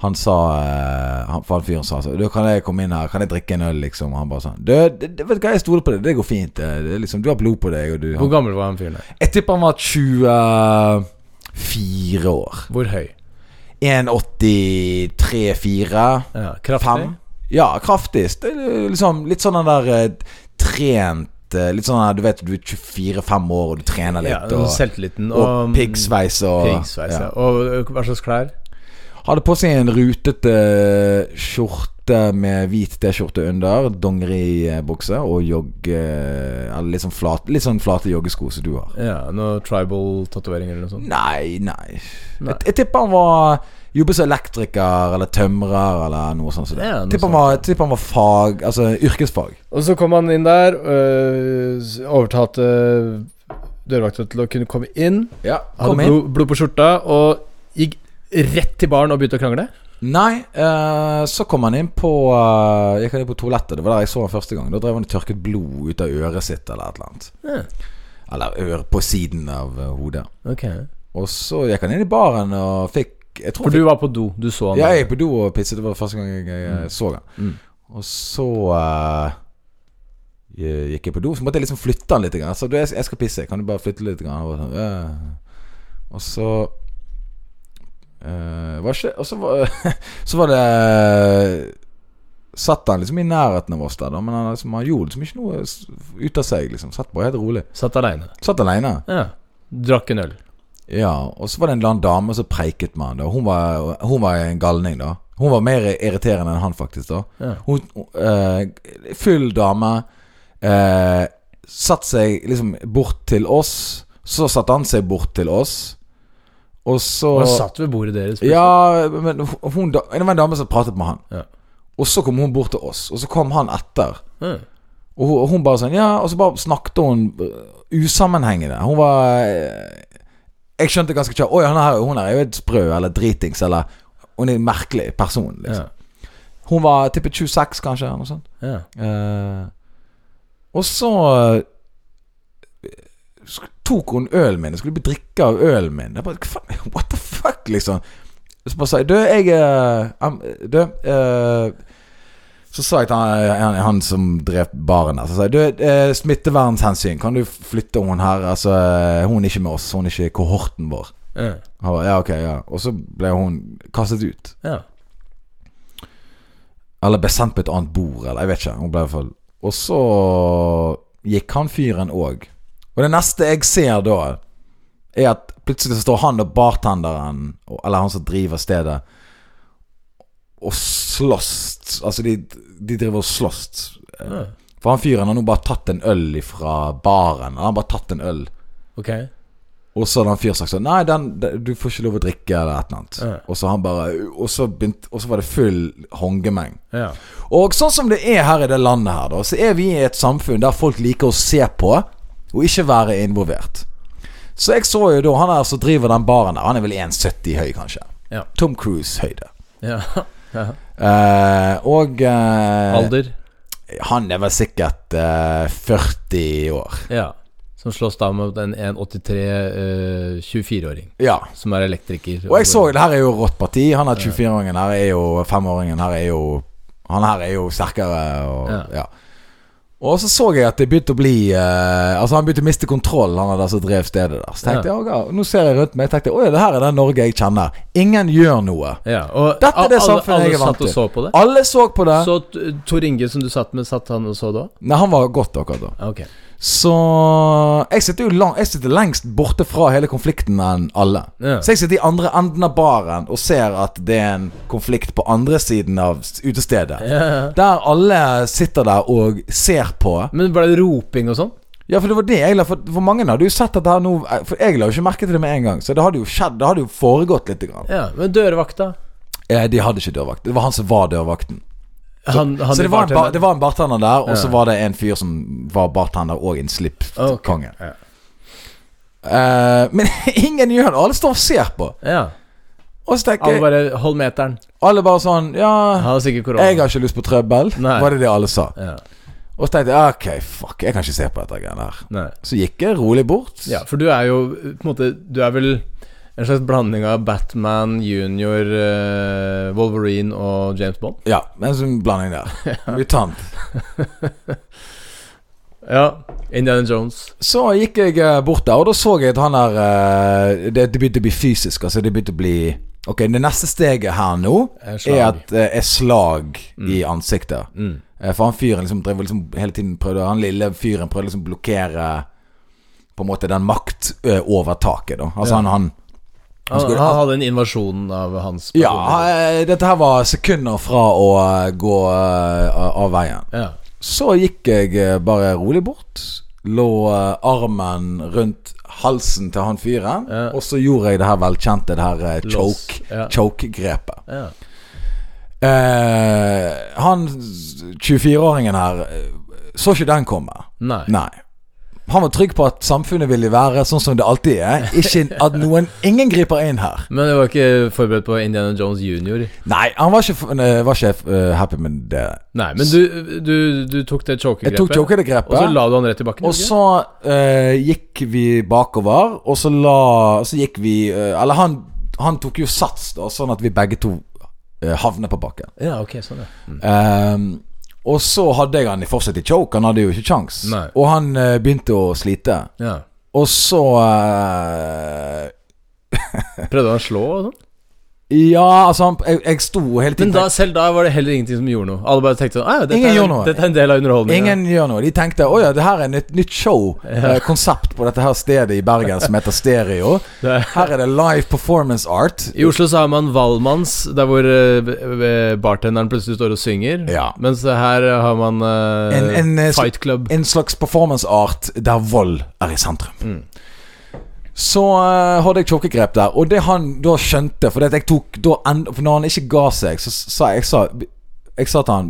Speaker 3: Han sa eh, han, For han fyren sa sånn Du, kan jeg komme inn her? Kan jeg drikke en øl, liksom? Og han bare sånn Du, det, det, vet du hva, jeg stoler på deg. Det går fint. Det, det, er liksom, du har blod på deg, og du
Speaker 2: Hvor gammel var han fyren der?
Speaker 3: Jeg tipper han var 24 år.
Speaker 2: Hvor høy?
Speaker 3: 1,83-4.
Speaker 2: Ja, kraftig?
Speaker 3: Fem. Ja, kraftig. Det er Liksom, litt sånn den der eh, trent eh, Litt sånn der, du vet du er 24-5 år og du trener
Speaker 2: Ja,
Speaker 3: litt.
Speaker 2: og
Speaker 3: og
Speaker 2: selvtilliten.
Speaker 3: og piggsveis og
Speaker 2: Piggsveis, mm, ja. Og ø, hva slags klær?
Speaker 3: Hadde på seg en rutete eh, skjorte med hvit T-skjorte under, dongeribukse og jogge... Eller litt sånn, flat, litt sånn flate joggesko som du har.
Speaker 2: Ja, Noe tribal-tatoveringer eller noe sånt?
Speaker 3: Nei, nei.
Speaker 2: Nei.
Speaker 3: Jeg, jeg tipper han var Jobbet som elektriker eller tømrer eller noe sånt. som det.
Speaker 2: Ja, noe
Speaker 3: tipper,
Speaker 2: sånt.
Speaker 3: han var, tipper han var fag Altså yrkesfag.
Speaker 2: Og så kom han inn der, øh, s- overtalte dørvakta til å kunne komme inn.
Speaker 3: Ja,
Speaker 2: Hadde
Speaker 3: kom inn.
Speaker 2: blod, blod på skjorta og gikk rett til baren og begynte å krangle.
Speaker 3: Nei, eh, så kom han inn på eh, Gikk han inn på toalettet. Det var der jeg så han første gang. Da drev han og tørket blod ut av øret sitt eller et eller annet.
Speaker 2: Ja.
Speaker 3: Eller ør på siden av eh, hodet.
Speaker 2: Ok
Speaker 3: Og så gikk han inn i baren og fikk Jeg tror
Speaker 2: For
Speaker 3: han fikk,
Speaker 2: du var på do. Du så han.
Speaker 3: Ja,
Speaker 2: der.
Speaker 3: jeg gikk på do og pisset. Det var første gang jeg, eh, så han.
Speaker 2: Mm.
Speaker 3: Og så eh, jeg gikk jeg på do, så måtte jeg liksom flytte han litt. Grann. Så du, jeg, jeg skal pisse, kan du bare flytte litt? Grann? Og, sånn, «Øh». og så eh, var ikke, Og så var, så var det Satt han liksom i nærheten av oss der, da, men han, liksom, han gjorde liksom ikke noe s- ut av seg. liksom Satt bare helt rolig.
Speaker 2: Satt aleine.
Speaker 3: Satt aleine.
Speaker 2: Ja. Drakk en øl.
Speaker 3: Ja, og så var det en eller annen dame som preiket med han da. Hun var, hun var en galning, da. Hun var mer irriterende enn han, faktisk. da
Speaker 2: Ja.
Speaker 3: Hun, eh, Full dame. Uh, satt seg liksom bort til oss. Så satte han seg bort til oss. Og så
Speaker 2: Og jeg satt ved bordet deres. plutselig.
Speaker 3: Ja, men hun, da- det var en dame som pratet med han.
Speaker 2: Ja.
Speaker 3: Og så kom hun bort til oss, og så kom han etter.
Speaker 2: Mm.
Speaker 3: Og hun, og hun bare sånn Ja, og så bare snakket hun eh, usammenhengende. Hun var eh, Jeg skjønte ganske kjapt Oi, han her, hun her er jo et sprø eller dritings eller Hun er en merkelig person,
Speaker 2: Ja.
Speaker 3: liksom. Hun var tippet 26, kanskje, eller noe sånt.
Speaker 2: Ja.
Speaker 3: Eh, og så eh, sk- tok hun ølen min. Jeg skulle bli drikke av ølen min. Jeg bare, "Hva faen? What the fuck, liksom? Så bare sa jeg Du, jeg eh, am- Du eh, Så sa jeg til han, eh, han, han som drev baren der, så sa jeg Du, eh, smittevernhensyn, kan du flytte hun her? Altså, eh, hun er ikke med oss, hun er ikke i kohorten vår.
Speaker 2: Ja.
Speaker 3: Han bare, ja, ok, ja. Og så ble hun kastet ut.
Speaker 2: Ja.
Speaker 3: Eller ble sendt på et annet bord, eller jeg vet ikke. Hun ble i hvert fall Og så gikk han fyren òg. Og det neste jeg ser da, er at plutselig så står han og bartenderen, og- eller han som driver stedet, og slåss. Altså, de, de driver og slåss.
Speaker 2: Ja.
Speaker 3: For han fyren har nå bare tatt en øl ifra baren. Han har bare tatt en øl.
Speaker 2: Ok.
Speaker 3: Og så hadde han fyr sagt sånn Nei, den, den, du får ikke lov å drikke eller et eller annet.
Speaker 2: Ja.
Speaker 3: Og så han bare Og så, begynte, og så var det full hongemeng.
Speaker 2: Ja.
Speaker 3: Og sånn som det er her i det landet her, da, så er vi i et samfunn der folk liker å se på og ikke være involvert. Så jeg så jo da han der som driver den baren der, han er vel 1,70 høy, kanskje.
Speaker 2: Ja.
Speaker 3: Tom Cruise-høyde.
Speaker 2: Ja. ja.
Speaker 3: Eh, og eh,
Speaker 2: Alder.
Speaker 3: han er vel sikkert eh, 40 år.
Speaker 2: Ja. Som slåss da mot en 1,83 eh, 24-åring
Speaker 3: Ja.
Speaker 2: som er elektriker.
Speaker 3: Og jeg så det her er jo rått parti. Han er 24-åringen her er jo 5-åringen her er jo Han her er jo sterkere og
Speaker 2: Ja.
Speaker 3: ja. Og så så jeg at det begynte å bli eh, Altså Han begynte å miste kontroll, han der som drev stedet der. Så tenkte
Speaker 2: Ja.
Speaker 3: jeg, «Å, ja, nå ser jeg rundt meg, jeg tenkte Å ja, det her er den Norge jeg kjenner. Ingen gjør noe.
Speaker 2: Ja, og
Speaker 3: Dette er det
Speaker 2: alle,
Speaker 3: samfunnet jeg er
Speaker 2: Alle satt
Speaker 3: vant
Speaker 2: og
Speaker 3: til.
Speaker 2: så på det.
Speaker 3: Alle så på det.
Speaker 2: Så T- Tor Inge, som du satt med, satt han og så da?
Speaker 3: Nei, han var godt akkurat da.
Speaker 2: Ok.
Speaker 3: Så jeg sitter jo lang, jeg sitter lengst borte fra hele konflikten enn alle.
Speaker 2: Ja.
Speaker 3: Så jeg sitter i andre enden av baren og ser at det er en konflikt på andre siden av s- utestedet.
Speaker 2: Ja.
Speaker 3: Der alle sitter der og ser på.
Speaker 2: Men ble det roping og sånn?
Speaker 3: Ja, for det var det jeg la For, for mange hadde jo sett dette her nå eh, For jeg la jo ikke merke til det med en gang, så det hadde jo skjedd. Det hadde jo foregått lite grann.
Speaker 2: Ja, men dørvakta
Speaker 3: Eh, De hadde ikke dørvakt. Det var han som var dørvakten.
Speaker 2: han, han
Speaker 3: Så
Speaker 2: i
Speaker 3: det var, en bar,
Speaker 2: bartenderen-
Speaker 3: det var en bartender der, og så var det en fyr som var bartender og en
Speaker 2: Ok.
Speaker 3: slipkonge.
Speaker 2: Ja.
Speaker 3: Eh, men ingen gjør det. Alle står og ser på.
Speaker 2: ja.
Speaker 3: Og så tenker
Speaker 2: Alle
Speaker 3: jeg
Speaker 2: bare 'hold meteren'.
Speaker 3: alle bare sånn Ja,
Speaker 2: Han har sikkert korona.
Speaker 3: jeg har ikke lyst på trøbbel.
Speaker 2: Nei.
Speaker 3: Var det det alle sa.
Speaker 2: ja.
Speaker 3: Og så tenkte jeg ok, fuck, jeg kan ikke se på dette greiene her.
Speaker 2: Nei.
Speaker 3: Så gikk jeg rolig bort.
Speaker 2: ja, for du er jo på en måte Du er vel en slags blanding av Batman, Junior, eh, Wolverine og James Bond?
Speaker 3: Ja, en sånn blanding der. Mutant.
Speaker 2: Ja. Indiana Jones.
Speaker 3: Så gikk jeg eh, bort der, og da så jeg at han der eh, Det det begynte å bli fysisk. Altså, det begynte å bli Ok, det neste steget her nå
Speaker 2: Er slag.
Speaker 3: er at eh, er slag i ansiktet.
Speaker 2: Mm.
Speaker 3: Eh, For han fyren liksom drev og liksom hele tiden prøvde Han lille fyren prøvde liksom å blokkere På en måte den maktovertaket, da. Altså
Speaker 2: Ja.
Speaker 3: han, han
Speaker 2: Han,
Speaker 3: skulle-
Speaker 2: han hadde en invasjon av hans
Speaker 3: Ja,
Speaker 2: personlighet.
Speaker 3: eh, dette her var sekunder fra å eh, gå eh, av veien.
Speaker 2: ja.
Speaker 3: Så gikk jeg eh, bare rolig bort. Lå eh, armen rundt halsen til han fyren.
Speaker 2: Ja.
Speaker 3: Og så gjorde jeg det her velkjente det her eh,
Speaker 2: Lås,
Speaker 3: choke-
Speaker 2: ja.
Speaker 3: choke-grepet.
Speaker 2: Ja.
Speaker 3: eh, han 24-åringen her eh, så ikke den komme.
Speaker 2: Nei.
Speaker 3: Nei. Han var trygg på at samfunnet ville være sånn som det alltid er. Ikke at noen Ingen griper inn her.
Speaker 2: Men jeg var ikke forberedt på Indiana Jones junior.
Speaker 3: Nei, han var ikke, f- eh, var ikke eh, happy med det.
Speaker 2: Nei, men du, du, du tok det
Speaker 3: Jeg tok
Speaker 2: chokegrepet,
Speaker 3: choke det grepet.
Speaker 2: og så la du han rett i bakken?
Speaker 3: Og
Speaker 2: ikke?
Speaker 3: så eh, gikk vi bakover, og så la Så gikk vi eh, Eller han, han tok jo sats, da, sånn at vi begge to eh, havnet på bakken.
Speaker 2: Ja, ok, sånn, ja. Mm.
Speaker 3: Ehm, og så hadde jeg han i fortsatt i choke, han hadde jo ikke kjangs.
Speaker 2: Nei.
Speaker 3: Og han eh, begynte å slite.
Speaker 2: ja.
Speaker 3: Og så eh,
Speaker 2: Prøvde han å slå og sånn?
Speaker 3: Ja, altså, han, jeg, jeg sto hele
Speaker 2: Men
Speaker 3: tiden
Speaker 2: da, selv da var det heller ingenting som gjorde noe. Alle bare tenkte sånn «Ah, ja, dette,
Speaker 3: Ingen
Speaker 2: er,
Speaker 3: gjorde noe.
Speaker 2: dette er en del av underholdninga.
Speaker 3: Ingen gjør noe. De tenkte å ja, det her er et nytt, nytt show. eh, konsept på dette her stedet i Bergen som heter Stereo.
Speaker 2: Det-
Speaker 3: Her er det live performance art.
Speaker 2: I Oslo så har man Valmanns, der hvor eh, b- b- bartenderen plutselig står og synger.
Speaker 3: Ja.
Speaker 2: Mens her har man eh,
Speaker 3: En- en, eh,
Speaker 2: Fight Club. Mm.
Speaker 3: En slags performance art der vold er i sentrum. Så eh, hadde jeg tjukkegrep der. Og det han da skjønte For, det at jeg tok, da end, for når han ikke ga seg, så sa jeg, jeg sa, jeg sa til han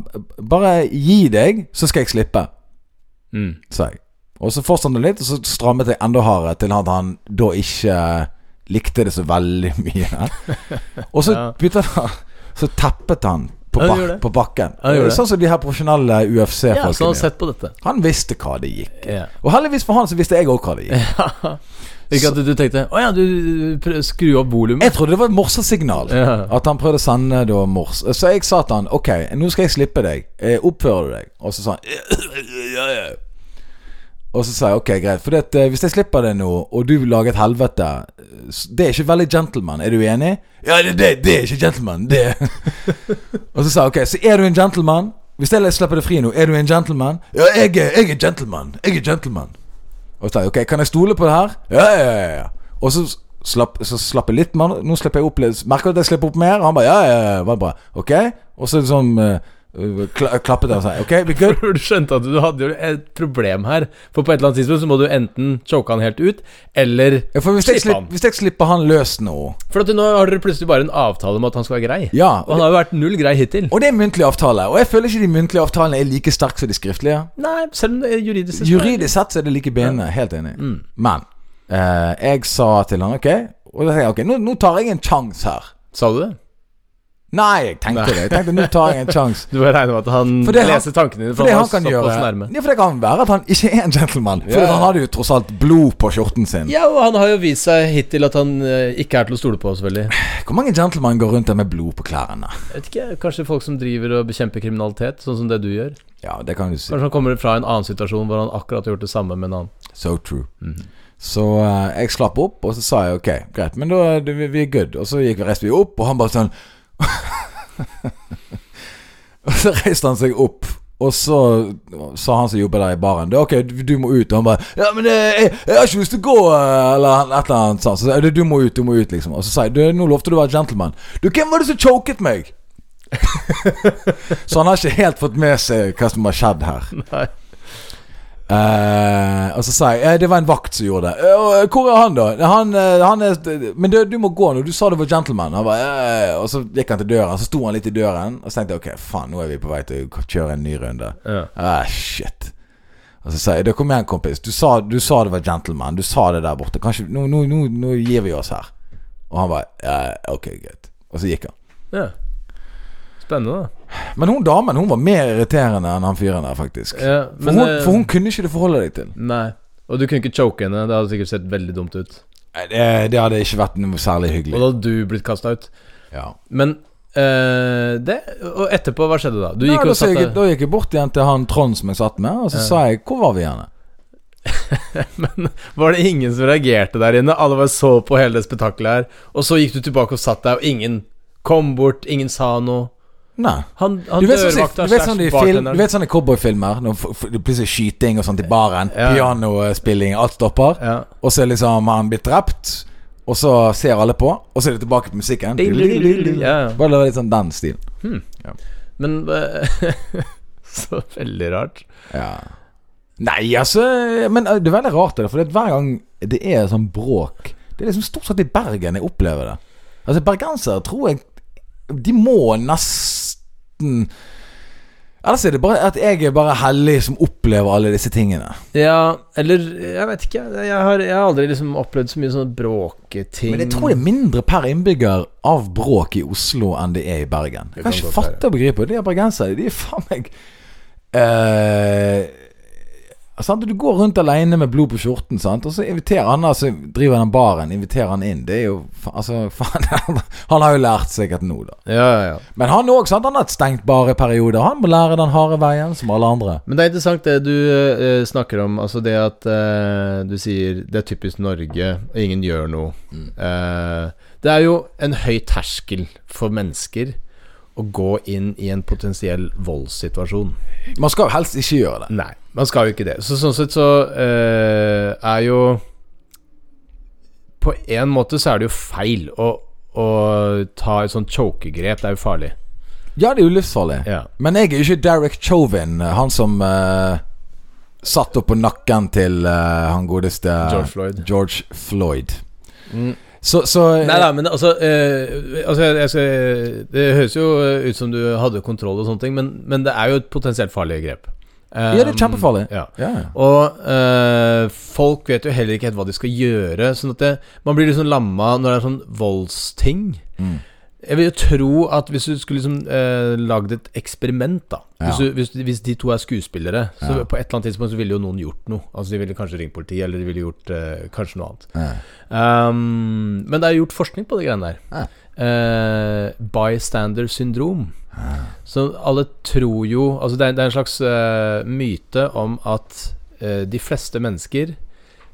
Speaker 3: Bare gi deg, så skal jeg slippe.
Speaker 2: Mm.
Speaker 3: Sa jeg. Og så fortsatte han litt, og så strammet jeg enda hardere til at han da ikke eh, likte det så veldig mye. Og så
Speaker 2: Ja.
Speaker 3: begynte han Så teppet han
Speaker 2: Ja,
Speaker 3: på,
Speaker 2: han
Speaker 3: bak,
Speaker 2: gjorde det.
Speaker 3: på bakken.
Speaker 2: Ja, han gjorde det.
Speaker 3: sånn som de her profesjonelle
Speaker 2: Ja, så han
Speaker 3: UFC-folkene.
Speaker 2: har
Speaker 3: gjør.
Speaker 2: sett på dette.
Speaker 3: han visste hva det gikk.
Speaker 2: Ja.
Speaker 3: Og heldigvis for han så visste jeg òg hva det gikk.
Speaker 2: Ikke at du tenkte Å ja, du prøv, skru opp volumet.
Speaker 3: Jeg trodde det var et morsesignal.
Speaker 2: Ja.
Speaker 3: At han prøvde å sende da mors. Så jeg sa til han Ok, nå skal jeg slippe deg. Eh, Oppfører du deg? Og så sa han ja, ja. Og så sa jeg ok, greit. For at, eh, hvis jeg slipper deg nå, og du lager et helvete eh, s- Det er ikke veldig gentleman. Er du enig? Ja, det, det, det er ikke gentleman. Det. og så sa jeg ok, så er du en gentleman? Hvis jeg slipper deg fri nå, er du en gentleman? Ja, jeg er, jeg er gentleman. Jeg er gentleman. Og så sa jeg, ok, kan jeg stole på det her? Ja, ja, ja, ja Og så slapp, så slapp jeg litt mer Nå slipper jeg opp litt Merker du at jeg slipper opp mer? Og han bare, ja, ja, ja, var bra Ok, og så liksom eh, kla, Klappet jeg og sa, ok, vi er good
Speaker 2: For Du skjønte at du hadde jo et problem her. For på et eller annet tidspunkt så må du enten choke han helt ut, eller
Speaker 3: Ja, for hvis jeg,
Speaker 2: Slipp
Speaker 3: slipper,
Speaker 2: han.
Speaker 3: hvis jeg slipper han løs nå
Speaker 2: For at nå har dere plutselig bare en avtale om at han skal være grei.
Speaker 3: Ja,
Speaker 2: Og han har jo vært null grei hittil.
Speaker 3: og det er en muntlig avtale Og jeg føler ikke de muntlige avtalene er like sterke som de skriftlige
Speaker 2: Nei, selv om det er juridisk sett-
Speaker 3: Juridisk sett så er det like benene, helt enig
Speaker 2: Mm.
Speaker 3: Men, eh, jeg sa til han, ok Og da tenkte jeg, ok, nå, nå tar jeg en chance her
Speaker 2: Sa du det?
Speaker 3: Nei, jeg tenkte det Jeg tenkte, nå tar jeg en chance
Speaker 2: Du bare regner med at han
Speaker 3: For det han-
Speaker 2: leser tankene dine?
Speaker 3: For det han
Speaker 2: var
Speaker 3: kan gjøre
Speaker 2: såpass nærme.
Speaker 3: Ja, for det kan være at han ikke er en gentleman. For
Speaker 2: Ja.
Speaker 3: han hadde jo tross alt blod på skjorten sin.
Speaker 2: Ja, og han har jo vist seg hittil at han eh, ikke er til å stole på, selvfølgelig.
Speaker 3: Hvor mange gentleman går rundt der med blod på klærne?
Speaker 2: Jeg vet ikke, Kanskje folk som driver og bekjemper kriminalitet, sånn som det du gjør.
Speaker 3: Ja, det kan du si.
Speaker 2: Kanskje han kommer fra en annen situasjon hvor han akkurat har gjort det samme med en annen.
Speaker 3: So true. Så eh, jeg slapp opp, og så sa jeg ok, greit, men da er det- vi, vi er good. Og så gikk vi reiste vi opp, og han bare sånn Og så reiste han seg opp, og så sa han som jobber der i baren, «Det er ok, du, du må ut. Og han bare ja, men eh, jeg, jeg har ikke lyst til å gå, eh», eller han- et eller annet sånt. Så sa jeg «Du- du må ut, du må ut, liksom. Og så sa jeg «Du, nå lovte du å være gentleman. Du, hvem var det som choket meg? så han har ikke helt fått med seg hva som har skjedd her.
Speaker 2: Nei.
Speaker 3: Eh, og så sa jeg eh, det var en vakt som gjorde det. Eh, og hvor er han, da? Han, eh, han er, men du, du må gå nå. Du sa du var gentleman. Han bare, eh, og så gikk han til døren. Så sto han litt i døren, og så tenkte jeg ok, faen, nå er vi på vei til å kjøre en ny runde.
Speaker 2: Ja.
Speaker 3: Ah, shit. Og så sa jeg da, kom igjen, kompis. Du sa, du sa det var gentleman. Du sa det der borte. Kanskje, nå, nå, nå, nå gir vi oss her. Og han bare eh, ok, greit. Og så gikk han.
Speaker 2: Ja. Spennende, da.
Speaker 3: Men hun damen hun var mer irriterende enn han fyren der, faktisk.
Speaker 2: Ja, eh,
Speaker 3: for, hun, for hun kunne ikke du forholde deg til.
Speaker 2: Nei. Og du kunne ikke choke henne. Det hadde sikkert sett veldig dumt ut.
Speaker 3: Nei, Det, det hadde ikke vært noe særlig
Speaker 2: Og
Speaker 3: hyggelig.
Speaker 2: da hadde du blitt kasta ut.
Speaker 3: Ja.
Speaker 2: Men eh, det Og etterpå, hva skjedde da? Du
Speaker 3: Nei,
Speaker 2: gikk
Speaker 3: da,
Speaker 2: og
Speaker 3: så
Speaker 2: satte
Speaker 3: jeg, da gikk jeg bort igjen til han Trond som jeg satt med, og så sa jeg 'Hvor var vi igjen?'
Speaker 2: Men var det ingen som reagerte der inne? Alle bare så på hele det spetakkelet her. Og så gikk du tilbake og satt der, og ingen kom bort, ingen sa noe.
Speaker 3: Nei.
Speaker 2: Han, han
Speaker 3: Du vet, sånn,
Speaker 2: dørvakta
Speaker 3: du vet sånn i
Speaker 2: slash
Speaker 3: film, du
Speaker 2: bartenderen.
Speaker 3: vet sånne cowboyfilmer? Når f- f- det plutselig er skyting og sånt i baren,
Speaker 2: Ja.
Speaker 3: pianospilling, alt stopper.
Speaker 2: Ja.
Speaker 3: Og så er liksom han blitt drept, og så ser alle på, og så er det tilbake til musikken.
Speaker 2: Ja, ja.
Speaker 3: Bare det var litt sånn den stilen.
Speaker 2: Men eh, Så veldig rart.
Speaker 3: Ja. Nei, altså Men eh, det er veldig rart, det der, for det at hver gang det er sånn bråk Det er liksom stort sett i Bergen jeg opplever det. Altså, bergensere tror jeg De må nesten Ellers er det bare at jeg er bare hellig som opplever alle disse tingene.
Speaker 2: Ja, eller Jeg vet ikke. Jeg har, jeg har aldri liksom opplevd så mye sånne bråketing.
Speaker 3: Men jeg tror det er mindre per innbygger av bråk i Oslo enn det er i Bergen. Jeg
Speaker 2: kan
Speaker 3: kan ikke
Speaker 2: godt
Speaker 3: fatte og begripe det. De er bergensere. De er faen meg eh, sant? Du går rundt alene med blod på skjorten, sant? og så inviterer han altså, driver den baren inviterer han inn. Det er jo fa- altså, faen, Han har jo lært sikkert nå, da.
Speaker 2: Ja, ja, ja.
Speaker 3: Men han òg, sant? Han har hatt stengt bare perioder. Han må lære den harde veien, som alle andre.
Speaker 2: Men det er interessant det du eh, snakker om, altså det at eh, du sier det er typisk Norge, og ingen gjør noe. Eh, det er jo en høy terskel for mennesker å gå inn i en potensiell voldssituasjon.
Speaker 3: Man skal jo helst ikke gjøre det.
Speaker 2: Nei, man skal jo ikke det. Så sånn sett så eh, er jo På en måte så er det jo feil å, å ta et sånt chokegrep. Det er jo farlig.
Speaker 3: Ja, det er jo livsfarlig.
Speaker 2: Ja.
Speaker 3: Men jeg er jo ikke Derek Chauvin, han som eh, satt opp på nakken til eh, han godeste
Speaker 2: George Floyd.
Speaker 3: George Floyd.
Speaker 2: Mm.
Speaker 3: Så, så
Speaker 2: Nei da, men altså, eh, altså jeg, jeg skal, Det høres jo eh, ut som du hadde kontroll og sånne ting, men, men det er jo et potensielt farlig grep.
Speaker 3: Ja, det er kjempefarlig.
Speaker 2: Um, Ja.
Speaker 3: ja.
Speaker 2: Og eh, folk vet jo heller ikke helt hva de skal gjøre. Sånn at det, Man blir liksom lamma når det er sånn voldsting.
Speaker 3: Mm.
Speaker 2: Jeg vil jo tro at hvis du skulle liksom eh, lagd et eksperiment, da hvis,
Speaker 3: Ja.
Speaker 2: du, hvis, hvis de to er skuespillere, så
Speaker 3: Ja.
Speaker 2: på et eller annet tidspunkt så ville jo noen gjort noe. Altså De ville kanskje ringt politiet, eller de ville gjort eh, kanskje noe annet.
Speaker 3: Ja.
Speaker 2: Um, men det er gjort forskning på det greiene der.
Speaker 3: Ja.
Speaker 2: Eh, bystander syndrom. Så alle tror jo Altså det er, det er en slags eh, myte om at eh, de fleste mennesker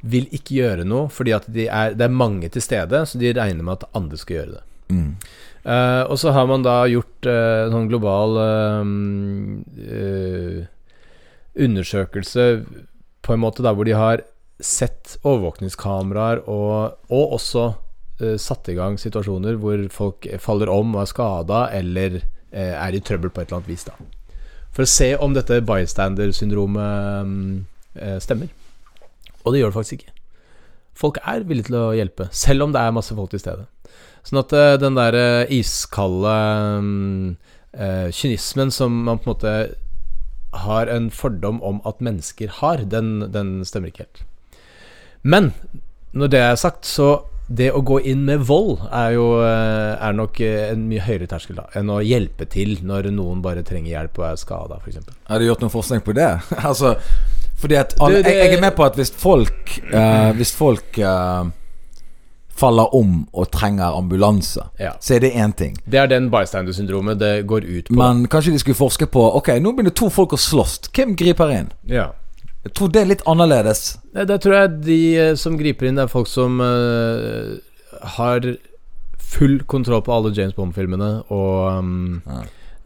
Speaker 2: vil ikke gjøre noe fordi at de er, det er mange til stede, så de regner med at andre skal gjøre det.
Speaker 3: Mm.
Speaker 2: Eh, og så har man da gjort eh, sånn global eh, eh, undersøkelse på en måte da hvor de har sett overvåkningskameraer og, og også eh, satt i gang situasjoner hvor folk faller om og er skada eller eh, er i trøbbel på et eller annet vis. da For å se om dette bystander-syndromet mm, eh, stemmer. Og det gjør det faktisk ikke. Folk er villige til å hjelpe, selv om det er masse folk til stede. Sånn at eh, den der eh, iskalde mm, eh, kynismen som man på en måte har en fordom om at mennesker har, den, den stemmer ikke helt. Men når det er sagt, så det å gå inn med vold er jo eh, er nok eh, en mye høyere terskel da, enn å hjelpe til når noen bare trenger hjelp og er skada, f.eks.
Speaker 3: Har du gjort noen forskning på det? altså, fordi at alle,
Speaker 2: Du, det-
Speaker 3: jeg, jeg er med på at hvis folk eh, Hvis folk eh, faller om og trenger ambulanse,
Speaker 2: Ja.
Speaker 3: så er det én ting.
Speaker 2: Det er den bystander-syndromet det går ut på.
Speaker 3: Men kanskje de skulle forske på Ok, nå begynner to folk å slåss. Hvem griper inn?
Speaker 2: ja.
Speaker 3: Jeg tror det er litt annerledes.
Speaker 2: Nei, der tror jeg de eh, som griper inn, det er folk som eh, har full kontroll på alle James Bond-filmene og um,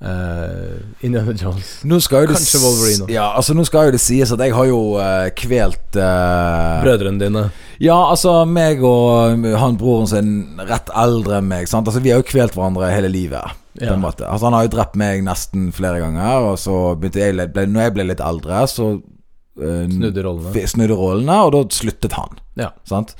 Speaker 2: eh, Indiana Jones.
Speaker 3: Nå skal jo det
Speaker 2: Kanskje Wolverine også.
Speaker 3: Ja, altså nå skal jo det sies at jeg har jo eh, kvelt eh,
Speaker 2: Brødrene dine.
Speaker 3: Ja, altså meg og eh, han broren sin rett eldre enn meg. Sant? Altså Vi har jo kvelt hverandre hele livet. På
Speaker 2: Ja.
Speaker 3: en måte Altså Han har jo drept meg nesten flere ganger. Og så begynte jeg litt- ble, Når jeg ble litt eldre, så eh,
Speaker 2: Snudde rollene.
Speaker 3: vi- snudde rollene, og da sluttet han.
Speaker 2: Ja.
Speaker 3: Sant?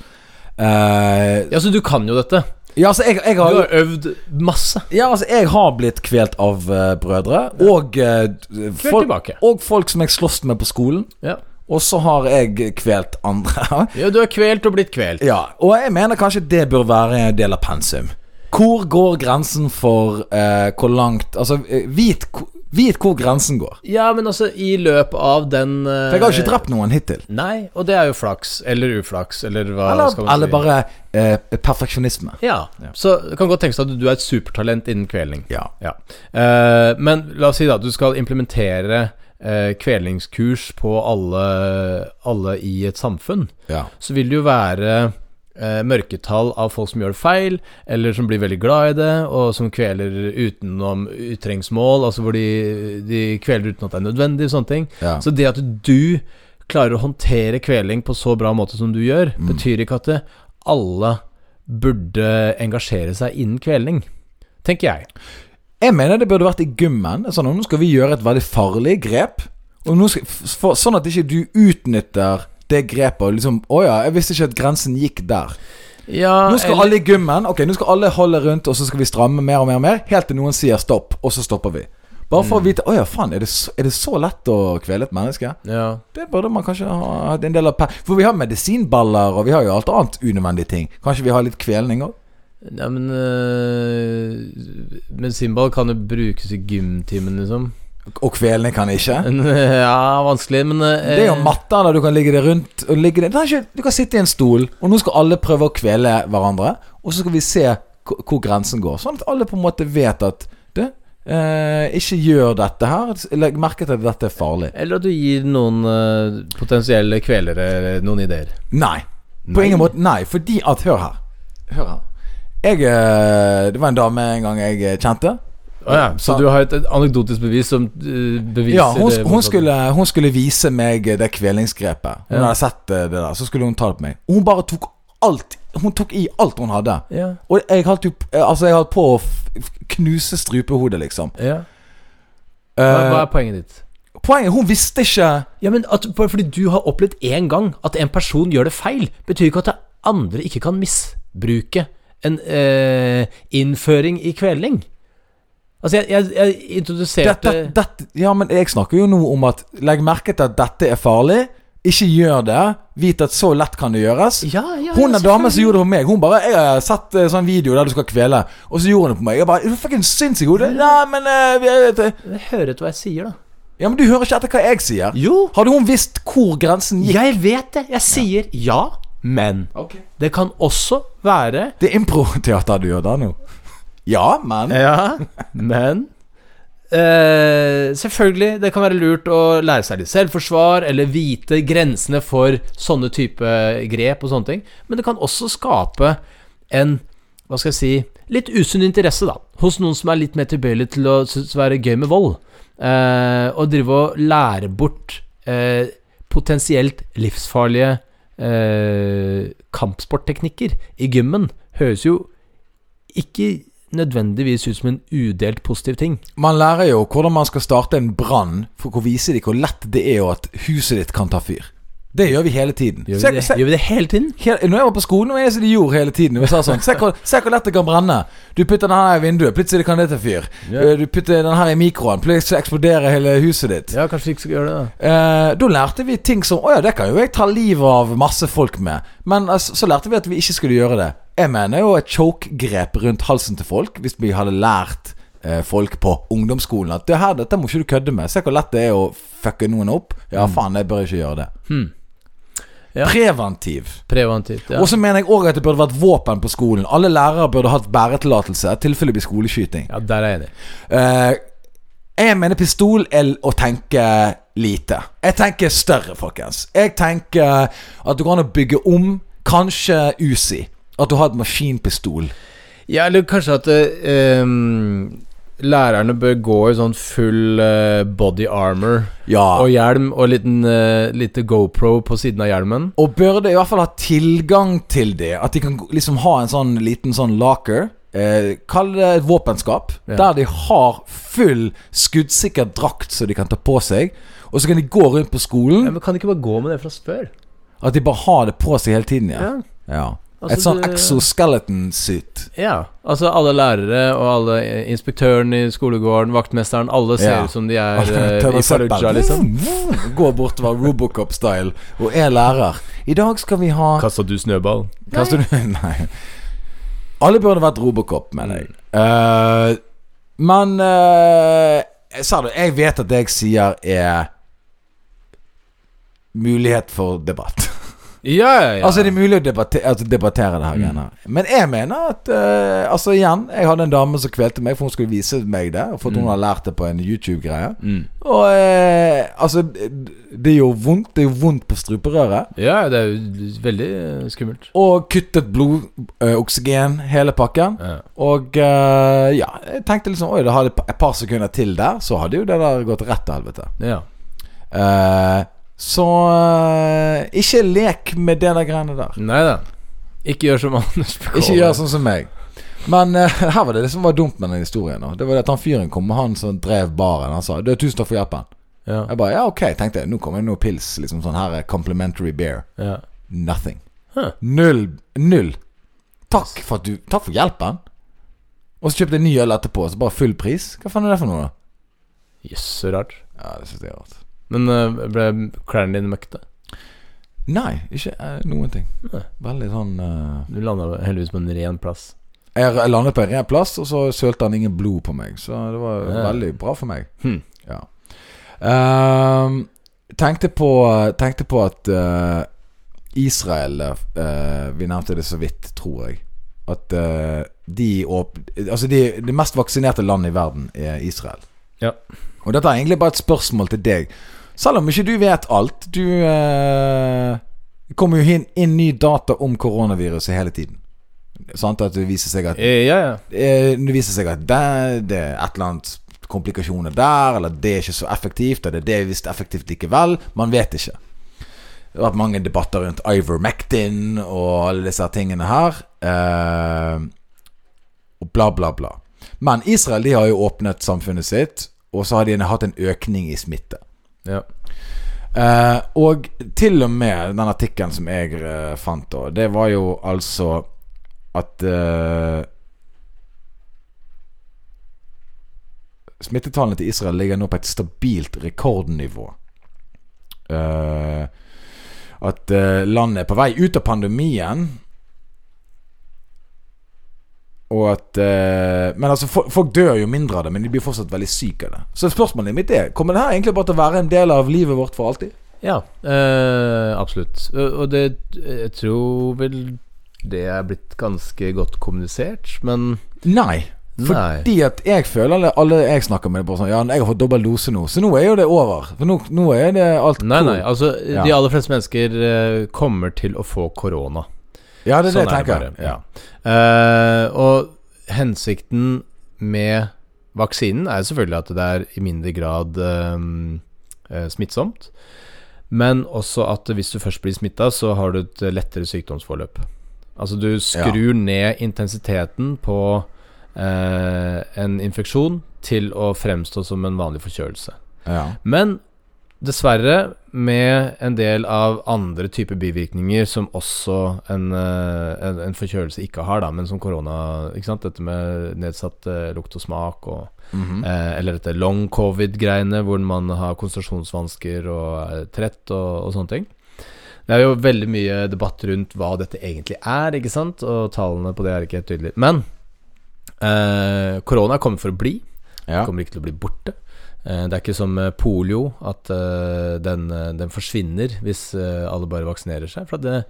Speaker 3: Eh,
Speaker 2: ja, så du kan jo dette.
Speaker 3: ja, altså jeg, jeg
Speaker 2: Du
Speaker 3: har jo
Speaker 2: har øvd masse.
Speaker 3: Ja, altså, jeg har blitt kvelt av eh, brødre. Og, eh, folk,
Speaker 2: tilbake.
Speaker 3: og folk som jeg slåss med på skolen.
Speaker 2: Ja.
Speaker 3: Og så har jeg kvelt andre.
Speaker 2: ja, du er kvelt og blitt kvelt.
Speaker 3: ja, Og jeg mener kanskje det bør være en del av pensum. Hvor går grensen for eh, hvor langt Altså, eh, vit, ko- vit hvor grensen går.
Speaker 2: Ja, men altså, i løpet av den eh,
Speaker 3: For jeg har jo ikke drept noen hittil.
Speaker 2: Nei, og det er jo flaks. Eller uflaks, eller hva
Speaker 3: Eller,
Speaker 2: skal man si.
Speaker 3: eller bare eh, perfeksjonisme.
Speaker 2: Ja. Så det kan godt tenkes at du er et supertalent innen kveling.
Speaker 3: Ja.
Speaker 2: Ja. Eh, men la oss si da at du skal implementere eh, kvelingskurs på alle, alle i et samfunn.
Speaker 3: ja.
Speaker 2: Så vil det jo være eh, mørketall av folk som gjør feil, eller som blir veldig glad i det, og som kveler utenom utrengsmål, altså hvor de, de kveler uten at det er nødvendig, sånne ting.
Speaker 3: Ja.
Speaker 2: Så det at du klarer å håndtere kveling på så bra måte som du gjør, betyr ikke at det, alle burde engasjere seg innen kveling, tenker jeg.
Speaker 3: Jeg mener det burde vært i gymmen. Sånn, nå skal vi gjøre et veldig farlig grep. Og nå skal, f- for, sånn at ikke du utnytter det grepet. og Liksom, 'Å ja, jeg visste ikke at grensen gikk der'.
Speaker 2: Ja,
Speaker 3: Nå skal alle i gymmen. Ok, nå skal alle holde rundt, og så skal vi stramme mer og mer, og mer helt til noen sier stopp, og så stopper vi. Bare for å vite 'Å ja, faen, er det, så, er det så lett å kvele et menneske?'
Speaker 2: ja.
Speaker 3: Det burde man kanskje ha hatt en del av pe- For vi har medisinballer, og vi har jo alt annet unødvendige ting. Kanskje vi har litt kvelning òg?
Speaker 2: Nei, men øh, Men Simbal kan jo brukes i gymtimen, liksom.
Speaker 3: Og kvelning kan ikke?
Speaker 2: Men, ja, vanskelig, men øh,
Speaker 3: Det er jo matta der du kan ligge deg rundt og ligge deg. Kanskje, Du kan sitte i en stol, og nå skal alle prøve å kvele hverandre. Og så skal vi se hvor hvor grensen går, sånn at alle på en måte vet at Du, eh, ikke gjør dette her. Legg merke til at dette er farlig.
Speaker 2: Eller at du gir noen øh, potensielle kvelere eh, noen ideer.
Speaker 3: Nei. På ingen måte. Nei, fordi at Hør her. Hør her. Jeg, eh, det var en dame en gang jeg eh, kjente.
Speaker 2: Å ja, så du har et, et anekdotisk bevis som øh, beviser
Speaker 3: Ja, hun,
Speaker 2: det
Speaker 3: hun,
Speaker 2: motsatte.
Speaker 3: skulle, hun skulle vise meg det kvelingsgrepet. Hun hadde sett eh, det der, så skulle hun ta det på meg. Og hun bare tok alt. Hun tok i alt hun hadde.
Speaker 2: Ja.
Speaker 3: Og jeg holdt, jo, altså jeg holdt på å f- f- knuse strupehodet, liksom.
Speaker 2: ja. Hva, hva
Speaker 3: Eh,
Speaker 2: er poenget ditt?
Speaker 3: Poenget hun visste ikke
Speaker 2: Ja, men at, Bare fordi du har opplevd én gang at en person gjør det feil, betyr ikke at det andre ikke kan misbruke en eh, innføring i kveling. Altså, jeg, jeg, jeg introduserte
Speaker 3: dette, dette, Ja, men jeg snakker jo nå om at Legg merke til at dette er farlig. Ikke gjør det. Vit at så lett kan det gjøres.
Speaker 2: Ja, ja, ja,
Speaker 3: hun er dame som gjorde det for meg. Hun bare 'Jeg har sett eh, sånn video der du skal kvele', og så gjorde hun det på meg. Jeg bare 'Er du fucking sinnssyk i hodet?' Nei, men eh, vi- det-
Speaker 2: Jeg hører etter hva jeg sier, da.
Speaker 3: Ja, men du hører ikke etter hva jeg sier.
Speaker 2: Jo,
Speaker 3: Hadde hun visst hvor grensen gikk
Speaker 2: jeg vet det. Jeg sier ja, men. Det kan også være
Speaker 3: Det er improteater du gjør der nå. Ja, men
Speaker 2: Ja, men eh, Selvfølgelig, det kan være lurt å lære seg litt selvforsvar, eller vite grensene for sånne type grep og sånne ting. Men det kan også skape en hva skal jeg si litt usunn interesse, da. Hos noen som er litt mer tilbøyelig til å synes det er gøy med vold. Eh, og drive og lære bort eh, potensielt livsfarlige eh, kampsportteknikker i gymmen. Høres jo ikke nødvendigvis ut som en udelt positiv ting.
Speaker 3: Man lærer jo hvordan man skal starte en brann, for å vise dem hvor lett det er jo at huset ditt kan ta fyr. Det gjør vi hele tiden.
Speaker 2: Gjør
Speaker 3: Se-
Speaker 2: vi det,
Speaker 3: se-
Speaker 2: gjør vi det hele tiden?
Speaker 3: Hele, når jeg var på skolen, var jeg som de gjorde hele tiden. Vi sa sånn, se hvor, se hvor lett det kan brenne. Du putter den her i vinduet, plutselig kan det ta fyr.
Speaker 2: Ja.
Speaker 3: Eh, Du putter den her i mikroen, plutselig eksploderer hele huset ditt.
Speaker 2: Ja, kanskje vi ikke skal gjøre det, da.
Speaker 3: Eh, da lærte vi ting som Å ja, det kan jo jeg ta livet av masse folk med. Men altså, så lærte vi at vi ikke skulle gjøre det. Jeg mener jo et choke-grep rundt halsen til folk, hvis vi hadde lært eh, folk på ungdomsskolen at det her, dette må ikke du kødde med. Se hvor lett det er å fucke noen opp. Ja, faen, jeg bør ikke gjøre det.
Speaker 2: Mm. Hmm. Ja.
Speaker 3: Preventiv.
Speaker 2: Preventivt. Ja.
Speaker 3: Og så mener jeg òg at det burde vært våpen på skolen. Alle lærere burde hatt bæretillatelse i tilfelle det blir skoleskyting.
Speaker 2: ja, der er jeg enig.
Speaker 3: Eh, jeg mener pistol er å tenke lite. Jeg tenker større, folkens. Jeg tenker at det går an å bygge om, kanskje Uzi. At du har et maskinpistol.
Speaker 2: Ja, eller kanskje at eh, em, lærerne bør gå i sånn full eh, body armor
Speaker 3: Ja.
Speaker 2: og hjelm og liten eh, lite GoPro på siden av hjelmen.
Speaker 3: Og burde i hvert fall ha tilgang til det. At de kan gå- liksom ha en sånn liten sånn laker. Eh, Kall det et våpenskap.
Speaker 2: Ja.
Speaker 3: Der de har full skuddsikker drakt som de kan ta på seg. Og så kan de gå rundt på
Speaker 2: Ja,
Speaker 3: skolen.
Speaker 2: men kan de ikke bare gå med det fra før?
Speaker 3: At de bare har det på seg hele tiden. Ja. ja.
Speaker 2: Altså,
Speaker 3: Et sånn
Speaker 2: det-
Speaker 3: exoskeleton suit.
Speaker 2: Ja, altså alle lærere og alle eh, inspektøren i skolegården, vaktmesteren, alle ser
Speaker 3: Ja.
Speaker 2: ut som de er eh,
Speaker 3: Tømmer
Speaker 2: i Fallujah,
Speaker 3: søppel.
Speaker 2: liksom.
Speaker 3: Går bortover Robocop-style og er lærer. I dag skal vi ha
Speaker 2: Kasta du snøball?
Speaker 3: Kaster du Nei. Alle burde vært Robocop, mener jeg. Eh, men eh, jeg sa det, jeg vet at det jeg sier, er mulighet for debatt.
Speaker 2: Ja, ja, Mm. ja.
Speaker 3: Altså, det er mulig å debattere, altså, debattere det her greiene her. Men jeg mener at eh, Altså, igjen, jeg hadde en dame som kvelte meg for hun skulle vise meg det. For at hun hadde lært det på en YouTube-greie.
Speaker 2: Mm.
Speaker 3: Og eh, altså det, det gjør vondt. Det gjør vondt på struperøret.
Speaker 2: Ja, det er jo veldig eh, skummelt.
Speaker 3: Og kuttet blod, eh, oksygen, hele pakken.
Speaker 2: Ja.
Speaker 3: Og eh, ja, jeg tenkte liksom Oi, det hadde et par sekunder til der, så hadde jo det der gått rett til helvete.
Speaker 2: Ja.
Speaker 3: Eh, så eh, ikke lek med det der greiene der.
Speaker 2: Nei da. Ikke gjør som Anders Bekåre.
Speaker 3: Ikke gjør sånn som meg. Men eh, her var det det som var dumt med den historien. Da. Det var det at han fyren kom, han som drev baren. Han sa «Du, 'Tusen takk for hjelpen'.
Speaker 2: Ja.
Speaker 3: Jeg bare ja, ok, tenkte jeg. Nå kommer det noe pils. Liksom sånn her eh, complimentary beer.
Speaker 2: Ja.
Speaker 3: Nothing.
Speaker 2: Huh.
Speaker 3: Null. Null. Takk for at du Takk for hjelpen. Og så kjøpte jeg ny øl etterpå, så bare full pris. Hva faen er det for noe, da?
Speaker 2: Jøss, så rart.
Speaker 3: Ja, det synes jeg er rart.
Speaker 2: Men eh, ble klærne dine møkkete?
Speaker 3: Nei, ikke eh, noen ting.
Speaker 2: Nei.
Speaker 3: Veldig sånn eh,
Speaker 2: Du landa heldigvis på en ren plass.
Speaker 3: Jeg jeg landet på en ren plass, og så sølte han ingen blod på meg. Så det var
Speaker 2: Ja.
Speaker 3: veldig bra for meg.
Speaker 2: Hmm.
Speaker 3: Ja. Ehm, tenkte, på, tenkte på at eh, Israel eh, Vi nevnte det så vidt, tror jeg. At eh, de åp... Altså, de, det mest vaksinerte landet i verden er Israel.
Speaker 2: Ja.
Speaker 3: Og dette er egentlig bare et spørsmål til deg. Selv om ikke du vet alt. Du eh, det kommer jo inn, inn ny data om koronaviruset hele tiden. Sant? At det viser seg at
Speaker 2: Eh, ja, ja.
Speaker 3: Eh, Det viser seg at det, det er et eller annet komplikasjoner der, eller det er ikke så effektivt, eller det er visst effektivt likevel. Man vet ikke. Det har vært mange debatter rundt Ivermectin og alle disse her tingene her. Eh, og bla, bla, bla. Men Israel de har jo åpnet samfunnet sitt, og så har de hatt en økning i smitte.
Speaker 2: Ja.
Speaker 3: Eh, og til og med den artikkelen som jeg eh, fant, da, det var jo altså at eh, Smittetallene til Israel ligger nå på et stabilt rekordnivå. Eh, at eh, landet er på vei ut av pandemien. Og at eh, Men altså, fo- folk dør jo mindre av det, men de blir fortsatt veldig syke av det. Så spørsmålet mitt er Kommer det her egentlig bare til å være en del av livet vårt for alltid?
Speaker 2: Ja, eh, absolutt. Og og det Jeg tror vel det er blitt ganske godt kommunisert, men
Speaker 3: Nei.
Speaker 2: Nei.
Speaker 3: Fordi at jeg føler alle, alle jeg snakker med, bare sånn Ja, jeg har fått dobbel dose nå, så nå er jo det over. For nå, nå er det alt
Speaker 2: Nei, nei.
Speaker 3: cool.
Speaker 2: Altså,
Speaker 3: Ja.
Speaker 2: de aller fleste mennesker eh, kommer til å få korona.
Speaker 3: Ja, det er det
Speaker 2: Sånn
Speaker 3: jeg
Speaker 2: er det
Speaker 3: tenker.
Speaker 2: bare.
Speaker 3: ja.
Speaker 2: Eh, og hensikten med vaksinen er jo selvfølgelig at det er i mindre grad eh, eh, smittsomt. Men også at hvis du først blir smitta, så har du et lettere sykdomsforløp. Altså du skrur ned intensiteten på eh, en infeksjon til å fremstå som en vanlig forkjølelse.
Speaker 3: Ja.
Speaker 2: Men dessverre, med en del av andre typer bivirkninger som også en, eh, en, en forkjølelse ikke har, da, men som korona ikke sant? Dette med nedsatt eh, lukt og smak og
Speaker 3: Mhm.
Speaker 2: eh, Eller dette long covid-greiene hvor man har konsentrasjonsvansker og er trett og, og sånne ting. Det er jo veldig mye debatt rundt hva dette egentlig er, ikke sant? Og tallene på det er ikke helt tydelige. Men eh, korona kommer for å bli.
Speaker 3: ja.
Speaker 2: Kommer ikke til å bli borte. Eh, Det er ikke som eh, polio, at eh, den, eh, den forsvinner hvis eh, alle bare vaksinerer seg. For at det,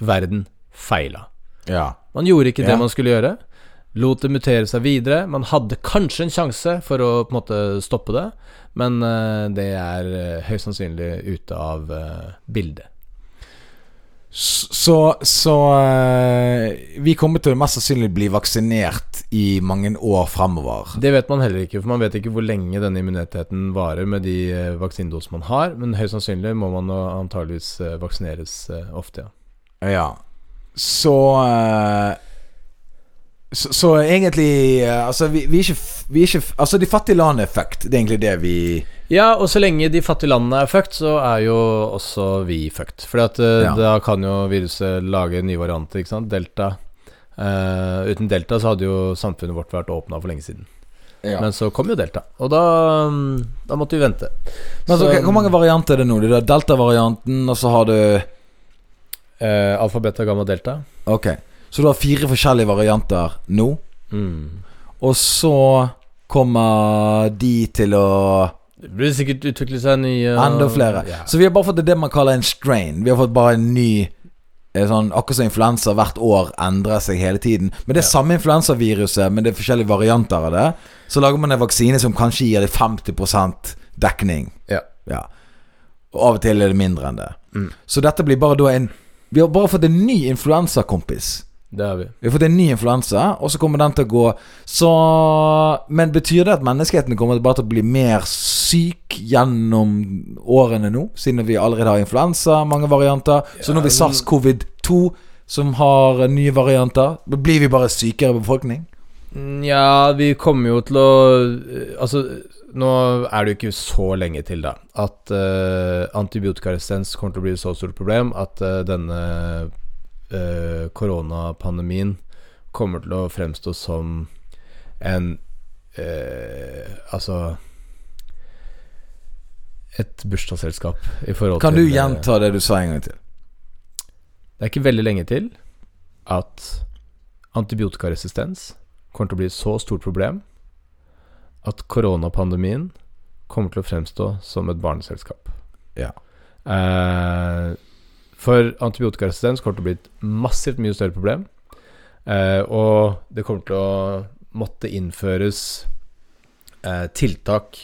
Speaker 2: verden feila.
Speaker 3: ja.
Speaker 2: Man gjorde ikke
Speaker 3: Ja.
Speaker 2: det man skulle gjøre. Lot det mutere seg videre. Man hadde kanskje en sjanse for å på en måte stoppe det, men eh, det er eh, høyst sannsynlig ute av eh, bildet.
Speaker 3: S- Så, så eh, vi kommer til å mest sannsynlig bli vaksinert i mange år fremover.
Speaker 2: Det vet man heller ikke, for man vet ikke hvor lenge denne immuniteten varer med de eh, vaksinedosene man har, men høyst sannsynlig må man eh, antageligvis eh, vaksineres eh, ofte, ja.
Speaker 3: Ja. Så eh, så, så egentlig eh, Altså, vi, vi er ikke, f- vi er ikke f- Altså, de fattige landene er fucked. Det er egentlig det vi
Speaker 2: Ja, og så lenge de fattige landene er fucked, så er jo også vi fucked. For
Speaker 3: Ja.
Speaker 2: da kan jo viruset lage nye varianter, ikke sant. Delta. Eh, uten delta så hadde jo samfunnet vårt vært åpna for lenge siden.
Speaker 3: Men,
Speaker 2: Men så kom jo delta, og da, mm, da måtte vi vente.
Speaker 3: så, altså, ok, hvor mange varianter er det nå? Det er delta-varianten, og så har du
Speaker 2: eh, Alfabet av gamma delta.
Speaker 3: Ok. Så du har fire forskjellige varianter nå,
Speaker 2: Mm.
Speaker 3: og så kommer de til å
Speaker 2: Det blir sikkert utvikle seg nye
Speaker 3: Enda flere.
Speaker 2: Ja.
Speaker 3: Så vi har bare fått det man kaller en strain. Vi har fått bare en ny eh, sånn, Akkurat som influensa hvert år endrer seg hele tiden. Men det er samme influensaviruset, men det er forskjellige varianter av det. Så lager man en vaksine som kanskje gir deg 50 dekning.
Speaker 2: Ja.
Speaker 3: Ja. Og av og til er det mindre enn det. Så dette blir bare da en Vi har bare fått en ny influensakompis.
Speaker 2: Det har vi.
Speaker 3: Vi har fått en ny influensa, og så kommer den til å gå Så Men betyr det at menneskeheten kommer bare til å bli mer syk gjennom årene nå? Siden vi allerede har influensa, mange varianter. Så nå blir SARS-covid-2, som har nye varianter. Blir vi bare sykere befolkning?
Speaker 2: Nja, vi kommer jo til å Altså, nå er det jo ikke så lenge til, da, at eh, antibiotikaresistens kommer til å bli et så stort problem at eh, denne eh, koronapandemien kommer til å fremstå som en eh, Altså et bursdagsselskap i forhold
Speaker 3: Kan
Speaker 2: til
Speaker 3: du
Speaker 2: eh,
Speaker 3: gjenta det du sa en gang til?
Speaker 2: det er ikke veldig lenge til at antibiotikaresistens kommer til å bli et så stort problem at koronapandemien kommer til å fremstå som et barneselskap.
Speaker 3: Ja.
Speaker 2: Eh, for antibiotikaresistens kommer til å bli et massivt mye større problem. Eh, og det kommer til å måtte innføres eh, tiltak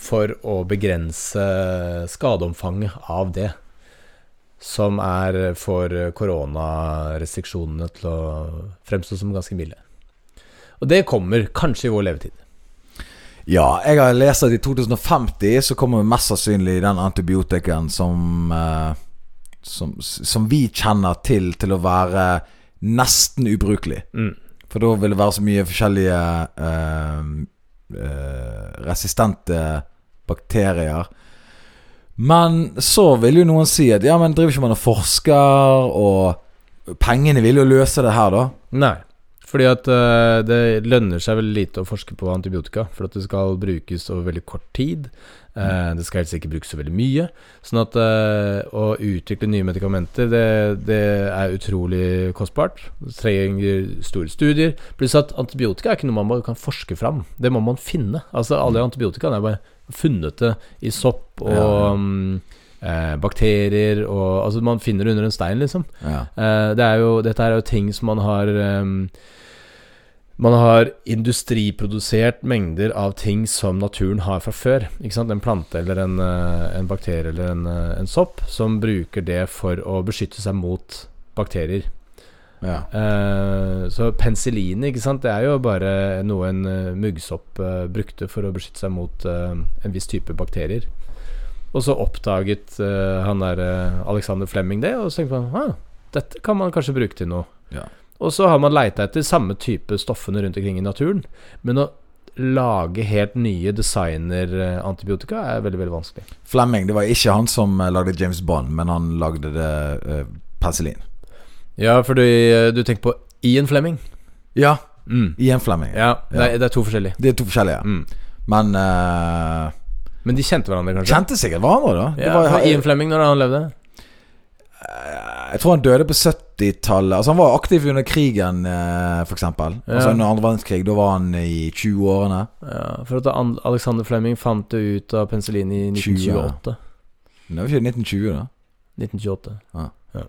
Speaker 2: for å begrense skadeomfanget av det. Som er får koronarestriksjonene til å fremstå som ganske milde. Og det kommer kanskje i vår levetid.
Speaker 3: Ja, jeg har lest at i 2050 så kommer mest sannsynlig den antibiotikaen som, eh, som Som vi kjenner til, til å være nesten ubrukelig.
Speaker 2: Mm.
Speaker 3: For da vil det være så mye forskjellige eh, eh, resistente bakterier Men så vil jo noen si at ja, men driver ikke man og forsker, og pengene vil jo løse det her, da.
Speaker 2: Nei. Fordi at eh, det lønner seg veldig lite å forske på antibiotika. For at det skal brukes over veldig kort tid.
Speaker 3: Mm.
Speaker 2: Eh, det skal helst ikke brukes så veldig mye. Sånn at eh, å utvikle nye medikamenter, det, det er utrolig kostbart. Det trenger store studier. Pluss at antibiotika er ikke noe man bare kan forske fram. Det må man finne. Altså alle antibiotikaene er bare funnet det i sopp og
Speaker 3: Mm. Ja, ja.
Speaker 2: mm, eh, bakterier og Altså man finner det under en stein, liksom.
Speaker 3: Ja.
Speaker 2: Eh, det er jo, dette her er jo ting som man har ehm, Man har industriprodusert mengder av ting som naturen har fra før. Ikke sant? En plante eller en, eh, en bakterie eller en, eh, en sopp som bruker det for å beskytte seg mot bakterier.
Speaker 3: Ja.
Speaker 2: Eh, så penicillin, ikke sant, det er jo bare noe en eh, muggsopp eh, brukte for å beskytte seg mot eh, en viss type bakterier. Og så oppdaget eh, han der eh, Alexander Flemming det, og så tenkte man ah, dette kan man kanskje bruke til noe.
Speaker 3: Ja.
Speaker 2: Og så har man leita etter samme type stoffene rundt omkring i naturen, men å lage helt nye designerantibiotika er veldig, veldig vanskelig.
Speaker 3: Flemming, det var ikke han som eh, lagde James Bond, men han lagde det eh, penicillin.
Speaker 2: Ja, for du, du tenker på Ian Flemming.
Speaker 3: Ja,
Speaker 2: Mm.
Speaker 3: Ian Flemming.
Speaker 2: Ja, det er, det er to forskjellige.
Speaker 3: De er to forskjellige.
Speaker 2: Mm.
Speaker 3: Men eh,
Speaker 2: Men de kjente hverandre, kanskje?
Speaker 3: kjente sikkert hverandre, da. Det
Speaker 2: Ja,
Speaker 3: var-
Speaker 2: var Ian Flemming når han levde?
Speaker 3: eh, Jeg tror han døde på 70-tallet. Altså Han var aktiv under krigen, eh, for eksempel
Speaker 2: Ja.
Speaker 3: Altså Under andre verdenskrig. Da var han i 20-årene.
Speaker 2: Ja, for at An- Alexander Flemming fant det ut av penicillin i 1928.
Speaker 3: 1928. Det var ikke 1920, da.
Speaker 2: 1928.
Speaker 3: Ja. um,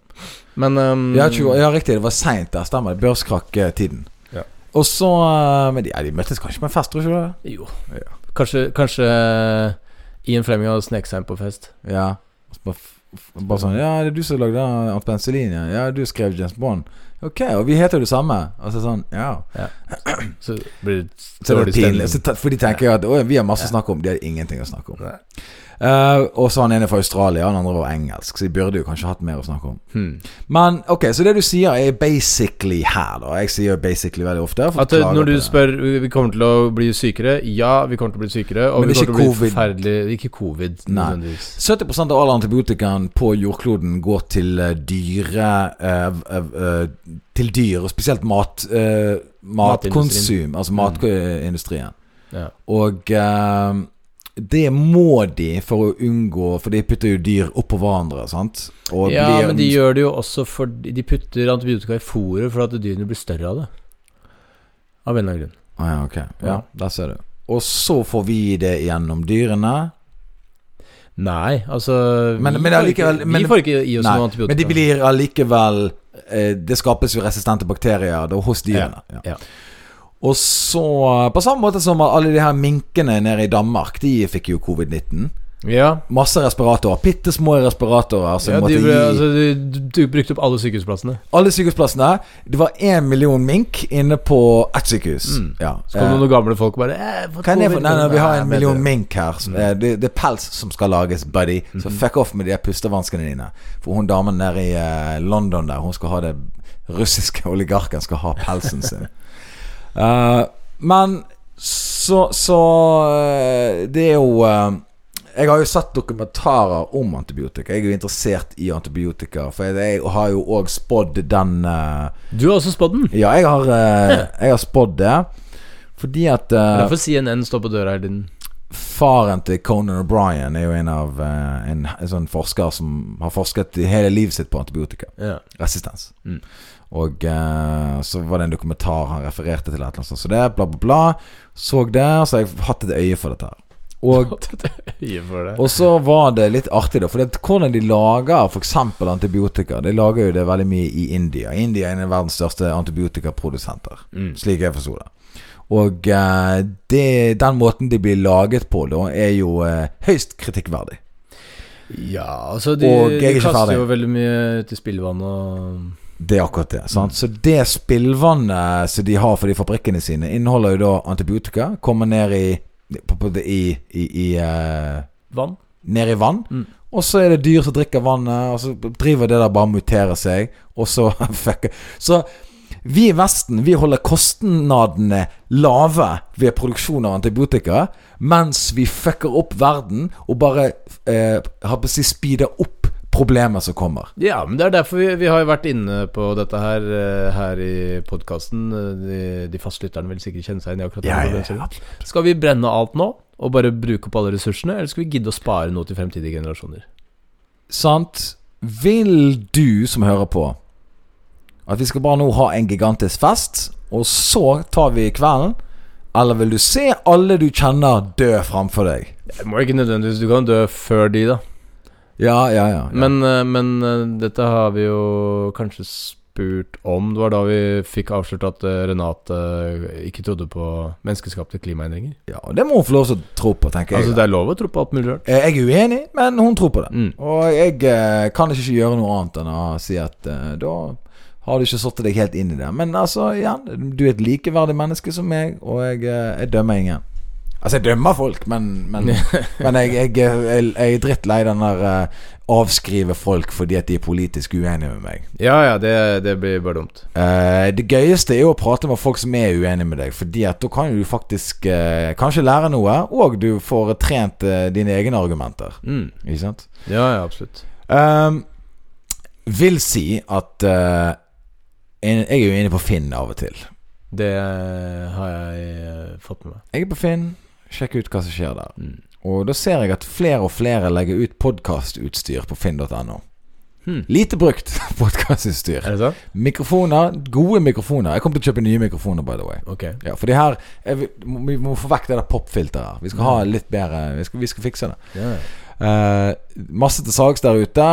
Speaker 2: Men ehm,
Speaker 3: Ja, 20, år. ja riktig. Det var seint der. Stemmer. det. Børskrakk-tiden.
Speaker 2: Ja.
Speaker 3: Og så eh, Men de, ja, de møttes kanskje på en fest, tror du ikke det?
Speaker 2: Jo.
Speaker 3: Ja.
Speaker 2: Kanskje, kanskje eh, Ian Flemming hadde sneket seg inn på fest.
Speaker 3: Ja. Og så Bare, f- f- bare sånn Ja, det er du som lagde den av penicillin? Ja. ja, du skrev James Bond. Ok, og vi heter jo det samme. Og så sånn Ja.
Speaker 2: Så blir det
Speaker 3: Så det er
Speaker 2: dårlig
Speaker 3: pinlig. Så
Speaker 2: stemning.
Speaker 3: ta- For de tenker jo at «Å, vi har masse å snakke om. De har ingenting å snakke om.
Speaker 2: Nei.
Speaker 3: Eh, og så han ene fra Australia, han andre var engelsk, så de burde jo kanskje hatt mer å snakke om.
Speaker 2: Hmm.
Speaker 3: Men ok, så det du sier er basically her, da. Jeg sier basically veldig ofte. for å
Speaker 2: At eh,
Speaker 3: klage
Speaker 2: når du
Speaker 3: Hmm. på det.
Speaker 2: spør "Vi- Vi kommer til å bli sykere Ja, vi kommer til å bli sykere Og
Speaker 3: Men
Speaker 2: vi
Speaker 3: det er
Speaker 2: kommer til å
Speaker 3: ikke
Speaker 2: bli
Speaker 3: covid.
Speaker 2: forferdelig Ikke covid
Speaker 3: Nei.
Speaker 2: nødvendigvis.
Speaker 3: 70 av all antibiotikaen på jordkloden går til eh, dyre eh, eh, eh, Til dyr, og spesielt mat, eh, matkonsum. Altså matindustrien.
Speaker 2: Ja.
Speaker 3: Og eh, det må de for å unngå For de putter jo dyr oppå hverandre, sant? Og
Speaker 2: Ja,
Speaker 3: blir-
Speaker 2: men de gjør det jo også fordi De putter antibiotika i fôret For at dyrene blir større av det Av en eller annen grunn
Speaker 3: Ah, ja, ok.
Speaker 2: Ja.
Speaker 3: Ja, der ser du. Og så får vi det gjennom dyrene.
Speaker 2: Nei, altså
Speaker 3: Men-
Speaker 2: vi,
Speaker 3: men
Speaker 2: får
Speaker 3: allikevel-
Speaker 2: ikke,
Speaker 3: men-
Speaker 2: vi får ikke i oss
Speaker 3: Nei,
Speaker 2: noe antibiotika.
Speaker 3: Men de blir allikevel eh, Det skapes jo resistente bakterier da, hos dyrene. Ja.
Speaker 2: ja.
Speaker 3: Og så eh, På samme måte som alle de her minkene nede i Danmark, de fikk jo covid-19.
Speaker 2: Ja,
Speaker 3: Masse respiratorer. Bitte små respiratorer som
Speaker 2: ja de,
Speaker 3: måtte
Speaker 2: ble,
Speaker 3: gi
Speaker 2: altså, du, du brukte opp alle sykehusplassene.
Speaker 3: Alle sykehusplassene. Det var én million mink inne på ett sykehus. Ja.
Speaker 2: Mm. Så kom
Speaker 3: Eh,
Speaker 2: det noen gamle folk og bare eh, hva
Speaker 3: Kan jeg få
Speaker 2: covid?
Speaker 3: Nei, nei, vi har
Speaker 2: Nei,
Speaker 3: en
Speaker 2: men
Speaker 3: million
Speaker 2: det-
Speaker 3: mink her. som- eh, Det, det er pels som skal lages, buddy. Så fuck off med de her pustevanskene dine. For hun damen der i eh, London der, hun skal ha det russiske oligarken skal ha pelsen sin. Eh, men så, så eh, Det er jo eh, jeg har jo sett dokumentarer om antibiotika. Jeg er jo interessert i antibiotika. For jeg, jeg har jo òg spådd den eh,
Speaker 2: Du har også spådd den. Det
Speaker 3: Ja, jeg har, eh, jeg har spådd det. Fordi at eh,
Speaker 2: er Derfor CNN står på døra hele tiden.
Speaker 3: Faren til Conan O'Brien er jo en av eh, en, en sånn forsker som har forsket i hele livet sitt på antibiotika.
Speaker 2: Ja.
Speaker 3: Resistens.
Speaker 2: Mm.
Speaker 3: Og eh, så var det en dokumentar han refererte til, et eller annet sånt. Så det, bla, bla, bla. Så det, så har jeg hatt et øye for dette her. Og,
Speaker 2: Øye for det.
Speaker 3: og så var det litt artig, da. For det, hvordan de lager f.eks. antibiotika De lager jo det veldig mye i India. India er en av verdens største antibiotikaprodusenter.
Speaker 2: Mm.
Speaker 3: Slik jeg forsto det. Og eh, det, den måten de blir laget på da, er jo eh, høyst kritikkverdig.
Speaker 2: Ja, altså de,
Speaker 3: Og jeg er
Speaker 2: de
Speaker 3: ikke
Speaker 2: kaster
Speaker 3: ferdig.
Speaker 2: jo veldig mye ut i spillvannet og
Speaker 3: Det er akkurat det. Sant? Så det spillvannet som de har for de fabrikkene sine, inneholder jo da antibiotika. Kommer ned i på, på, i, i, i eh,
Speaker 2: vann.
Speaker 3: Ned i vann.
Speaker 2: Mm.
Speaker 3: Og så er det dyr som drikker vannet, og så driver det der bare og muterer seg, og så fucker Så Vi i Vesten vi holder kostnadene lave ved produksjon av antibiotika, mens vi fucker opp verden og bare eh, har på å si speeder opp problemer som kommer.
Speaker 2: Ja, men det er derfor vi, vi har jo vært inne på dette her eh, Her i podkasten. De, de faste lytterne vil sikkert kjenne seg igjen i akkurat
Speaker 3: Ja,
Speaker 2: det.
Speaker 3: ja,
Speaker 2: Hvordan
Speaker 3: ja.
Speaker 2: ser det ut? Skal vi brenne alt nå og bare bruke opp alle ressursene, eller skal vi gidde å spare noe til fremtidige generasjoner?
Speaker 3: Sant? Vil du som hører på, at vi skal bare nå ha en gigantisk fest, og så tar vi kvelden? Eller vil du se alle du kjenner dø framfor deg?
Speaker 2: Det må ikke nødvendigvis Du kan dø før de, da.
Speaker 3: Ja, ja, ja. ja.
Speaker 2: Men, eh, men eh, dette har vi jo kanskje spurt om. Det var da vi fikk avslørt at eh, Renate eh, ikke trodde på menneskeskapte klimaendringer.
Speaker 3: Ja, og det må hun få lov til å tro på, tenker
Speaker 2: Altså,
Speaker 3: jeg.
Speaker 2: det er lov å tro på alt mulig rart.
Speaker 3: Eh, Jeg er uenig, men hun tror på det.
Speaker 2: Mm.
Speaker 3: Og jeg eh, kan ikke gjøre noe annet enn å si at eh, da har du ikke satt deg helt inn i det. Men altså, igjen, du er et likeverdig menneske som meg, og jeg, eh, jeg dømmer ingen. Altså, jeg dømmer folk, men, men, men jeg, jeg, eh, jeg, jeg er drittlei den der eh, avskrive folk fordi at de er politisk uenige med meg.
Speaker 2: Ja ja, det, det blir bare dumt.
Speaker 3: Eh, det gøyeste er jo å prate med folk som er uenige med deg, Fordi at da kan du faktisk eh, kanskje lære noe, og du får trent eh, dine egne argumenter.
Speaker 2: Mm.
Speaker 3: Ikke sant?
Speaker 2: Ja ja, absolutt.
Speaker 3: Ehm, vil si at eh, en- Jeg er jo inne på Finn av og til.
Speaker 2: Det har jeg eh, fått med meg.
Speaker 3: Jeg er på Finn, sjekker ut hva som skjer der.
Speaker 2: Mm.
Speaker 3: Og da ser jeg at flere og flere legger ut podkastutstyr på finn.no.
Speaker 2: Hmm.
Speaker 3: Lite brukt podkastutstyr.
Speaker 2: Er det sant?
Speaker 3: Mikrofoner, gode mikrofoner. Jeg kommer til å kjøpe nye mikrofoner, by the way.
Speaker 2: Ok.
Speaker 3: Ja, for de her jeg, vil- Vi må få vekk det der popfilteret her. Vi skal ha litt bedre Vi skal, vi skal fikse det.
Speaker 2: Ja, ja.
Speaker 3: Eh, masse til salgs der ute.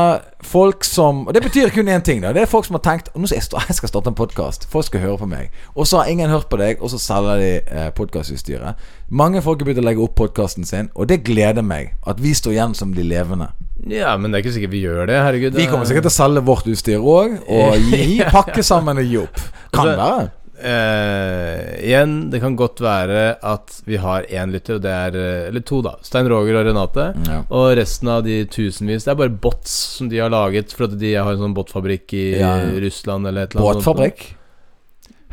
Speaker 3: Folk som Og det betyr kun én ting. da Det er folk som har tenkt Nå skal jeg, sta- jeg skal starte en podkast. Folk skal høre på meg. Og så har ingen hørt på deg, og så selger de eh, podkastutstyret. Mange folk har begynt å legge opp podkasten sin, og det gleder meg. At vi står igjen som de levende.
Speaker 2: ja, men det er ikke sikkert vi gjør det. Herregud.
Speaker 3: Vi kommer sikkert til å selge vårt utstyr òg, og gi, pakke sammen og gi opp. Kan være.
Speaker 2: Eh, igjen, det kan godt være at vi har én lytter, og det er eh, Eller to, da. Stein Roger og Renate.
Speaker 3: Ja.
Speaker 2: Og resten av de tusenvis Det er bare bots som de har laget For at de har en sånn botfabrikk i
Speaker 3: Ja, ja.
Speaker 2: Russland eller et eller annet
Speaker 3: Båtfabrikk.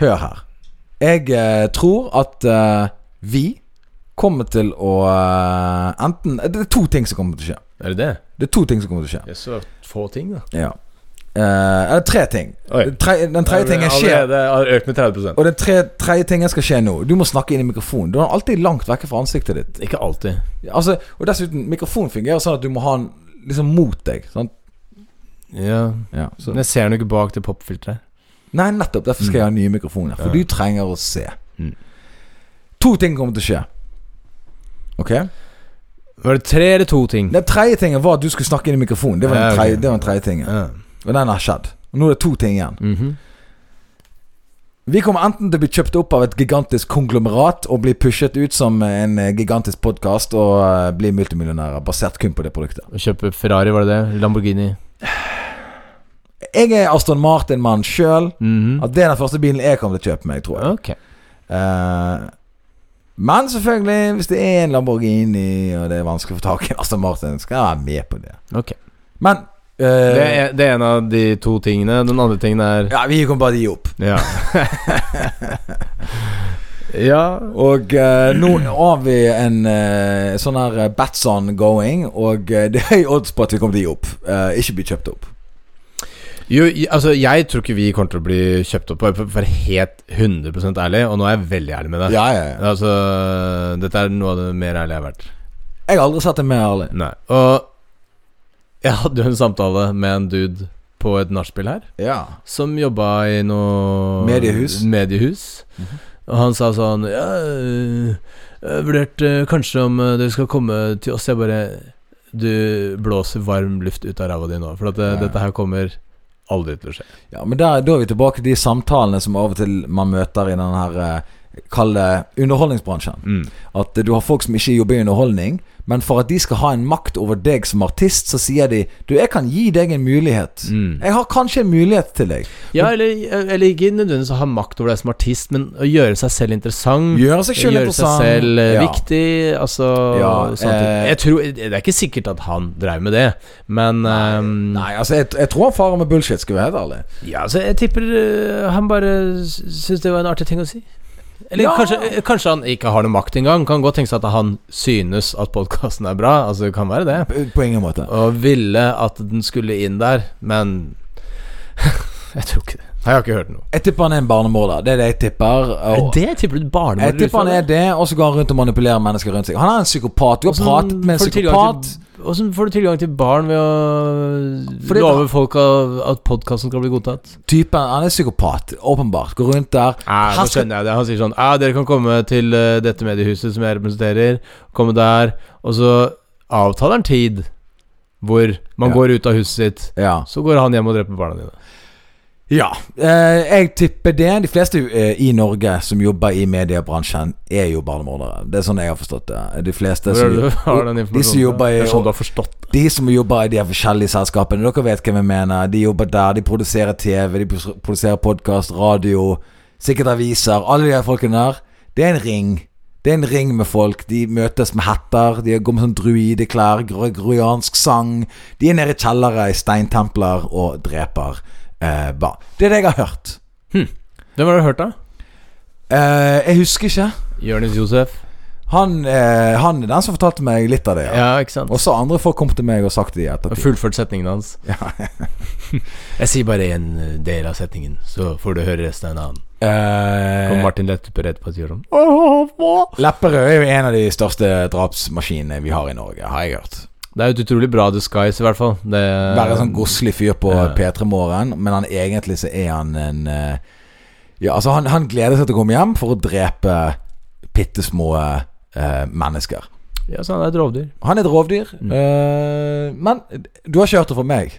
Speaker 3: Hør her. Jeg eh, tror at eh, vi kommer til å eh, Enten Det er to ting som kommer til å skje.
Speaker 2: Er det det?
Speaker 3: Det er to ting som kommer til å skje.
Speaker 2: Det er så få ting da
Speaker 3: Ja. Eh, eller tre ting.
Speaker 2: Oi.
Speaker 3: Den tre- den tredje tingen skjer.
Speaker 2: Det har økt med 30%
Speaker 3: Og den tre- tredje tingen skal skje nå. Du må snakke inn i mikrofonen. Du er alltid langt vekke fra ansiktet ditt.
Speaker 2: Ikke alltid
Speaker 3: Altså, og dessuten, mikrofonen fungerer sånn at du må ha den liksom mot deg. Sant?
Speaker 2: Ja
Speaker 3: Ja, så.
Speaker 2: Men jeg ser den jo ikke bak det popfiltret
Speaker 3: Nei, nettopp. Derfor skal jeg ha nye mikrofoner. For
Speaker 2: Mm. Ja.
Speaker 3: du trenger å se.
Speaker 2: Mm.
Speaker 3: To ting kommer til å skje. Ok?
Speaker 2: Var det tre eller to ting?
Speaker 3: Den tredje tingen var at du skulle snakke inn i mikrofonen. Det var
Speaker 2: Ja,
Speaker 3: den
Speaker 2: ok.
Speaker 3: tredje, det var den tredje tingen.
Speaker 2: Ja
Speaker 3: Og den har skjedd. Og nå er det to ting igjen.
Speaker 2: Mhm.
Speaker 3: Vi kommer enten til å bli kjøpt opp av et gigantisk konglomerat og bli pushet ut som en eh, gigantisk podkast og eh, bli multimillionærer basert kun på det produktet.
Speaker 2: Å kjøpe Ferrari var det det? Lamborghini
Speaker 3: Jeg er Aston Martin-mann sjøl.
Speaker 2: Mhm.
Speaker 3: At det er den første bilen jeg kommer til å kjøpe meg, tror jeg.
Speaker 2: Ok
Speaker 3: Eh, men selvfølgelig, hvis det er en Lamborghini og det er vanskelig å få tak i en Aston Martin, skal jeg være med på det.
Speaker 2: Ok
Speaker 3: Men eh,
Speaker 2: det er, det er en av de to tingene Den andre tingen er
Speaker 3: Ja, vi kommer bare til å gi opp.
Speaker 2: Ja Ja
Speaker 3: Og eh, nå har vi en eh, sånn her eh, bets on going, og eh, det er høy odds på at vi kommer til å gi opp. Eh, ikke bli kjøpt opp.
Speaker 2: Jo, i- altså Jeg tror ikke vi kommer til å bli kjøpt opp, bare for for å være helt 100 ærlig. Og nå er jeg veldig ærlig med deg.
Speaker 3: Ja, ja, ja.
Speaker 2: Altså, Dette er noe av det mer ærlige jeg har vært.
Speaker 3: Jeg har aldri sett det mer ærlig.
Speaker 2: Nei Og jeg hadde jo en samtale med en dude på et nachspiel her,
Speaker 3: Ja.
Speaker 2: som jobba i noe
Speaker 3: Mediehus.
Speaker 2: mediehus. Og han sa sånn Ja, øh, jeg vurderte øh, kanskje om øh, dere skal komme til oss. Jeg bare Du blåser varm luft ut av ræva di nå, for at det,
Speaker 3: Ja.
Speaker 2: dette her kommer aldri til å skje.
Speaker 3: Ja, men der, da er vi tilbake til de samtalene som av og til man møter i den her eh, kalle underholdningsbransjen.
Speaker 2: Mm.
Speaker 3: At eh, du har folk som ikke jobber i underholdning, men for at de skal ha en makt over deg som artist, så sier de Du, jeg kan gi deg en mulighet.
Speaker 2: Mm.
Speaker 3: Jeg har kanskje en mulighet til deg.
Speaker 2: Ja, eller, eller ikke nødvendigvis å ha makt over deg som artist, men å gjøre seg selv interessant.
Speaker 3: Gjøre seg selv interessant,
Speaker 2: Mm. Gjøre seg selv eh,
Speaker 3: ja.
Speaker 2: viktig. Altså
Speaker 3: Ja,
Speaker 2: sånne ting.
Speaker 3: eh,
Speaker 2: jeg tror, Det er ikke sikkert at han drev med det, men ehm,
Speaker 3: Nei, altså, jeg, jeg tror han farer med bullshit, skal vi være helt ærlig.
Speaker 2: ja, altså, jeg tipper eh, han bare s- syntes det var en artig ting å si. Eller
Speaker 3: Ja.
Speaker 2: kanskje, eh, kanskje han ikke har noe makt engang. Kan godt tenkes at han synes at podkasten er bra. Altså, det kan være det.
Speaker 3: På- På ingen måte.
Speaker 2: Og ville at den skulle inn der, men Jeg tror ikke det. Jeg har ikke hørt noe.
Speaker 3: Jeg tipper han er en barnemorder. Det er det jeg tipper. Og
Speaker 2: Det tipper du barnemor
Speaker 3: jeg tipper han er det, og så går han rundt og manipulerer mennesker rundt seg. Han er en psykopat.
Speaker 2: Altså,
Speaker 3: Du har pratet med en psykopat.
Speaker 2: Åssen får du tilgang til barn ved å
Speaker 3: Fordi
Speaker 2: love folk av- at podkasten skal bli godtatt?
Speaker 3: Typen, han er psykopat, åpenbart. Går rundt
Speaker 2: Nei,
Speaker 3: der. Her
Speaker 2: Ah, nå
Speaker 3: skal-
Speaker 2: skjønner jeg det. Han sier sånn Ja, dere kan komme til eh, dette mediehuset som jeg representerer. Komme der. Og så avtaler han tid hvor man
Speaker 3: Ja.
Speaker 2: går ut av huset sitt.
Speaker 3: Ja.
Speaker 2: Så går han hjem og dreper barna dine.
Speaker 3: ja. Eh, jeg tipper det. De fleste eh, i Norge som jobber i mediebransjen, er jo barnemordere. Det er sånn jeg har forstått det. De fleste
Speaker 2: Hvor
Speaker 3: som,
Speaker 2: er det du har den
Speaker 3: de som
Speaker 2: informasjonen? fra?
Speaker 3: jobber
Speaker 2: Det er sånn
Speaker 3: i
Speaker 2: du har forstått det.
Speaker 3: de som jobber i de her forskjellige selskapene, dere vet hvem jeg mener. De jobber der, de produserer TV, de pros- produserer podkast, radio, sikkert aviser. Alle de her folkene der. Det er en ring. Det er en ring med folk. De møtes med hetter, de går med sånn druideklær, gregoriansk sang. De er nede i kjellere i steintempler og dreper eh, barn. Det er det jeg har hørt.
Speaker 2: Hvem har du hørt, da?
Speaker 3: Eh, jeg husker ikke.
Speaker 2: Jonis Josef.
Speaker 3: Han, eh, han er den som fortalte meg litt av det. Ja.
Speaker 2: Ja, ikke sant?
Speaker 3: Også andre folk kom til meg og sagt det i ettertid.
Speaker 2: Og fullført setningen hans. jeg sier bare en eh, del av setningen, så får du høre resten av en annen.
Speaker 3: Eh,
Speaker 2: Kom Martin Lettup rett på sier sånn
Speaker 3: Lepperød er jo en av de største drapsmaskinene vi har i Norge, har jeg hørt.
Speaker 2: Det er jo et utrolig bra disguise, i hvert fall. Det,
Speaker 3: Være sånn godslig fyr på P3 Morgen, men han egentlig så er han en eh, Ja, altså, han, han gleder seg til å komme hjem for å drepe bitte små eh, mennesker.
Speaker 2: Ja, så han er et rovdyr.
Speaker 3: Han er et rovdyr,
Speaker 2: Mm.
Speaker 3: eh, men du har ikke hørt det fra meg.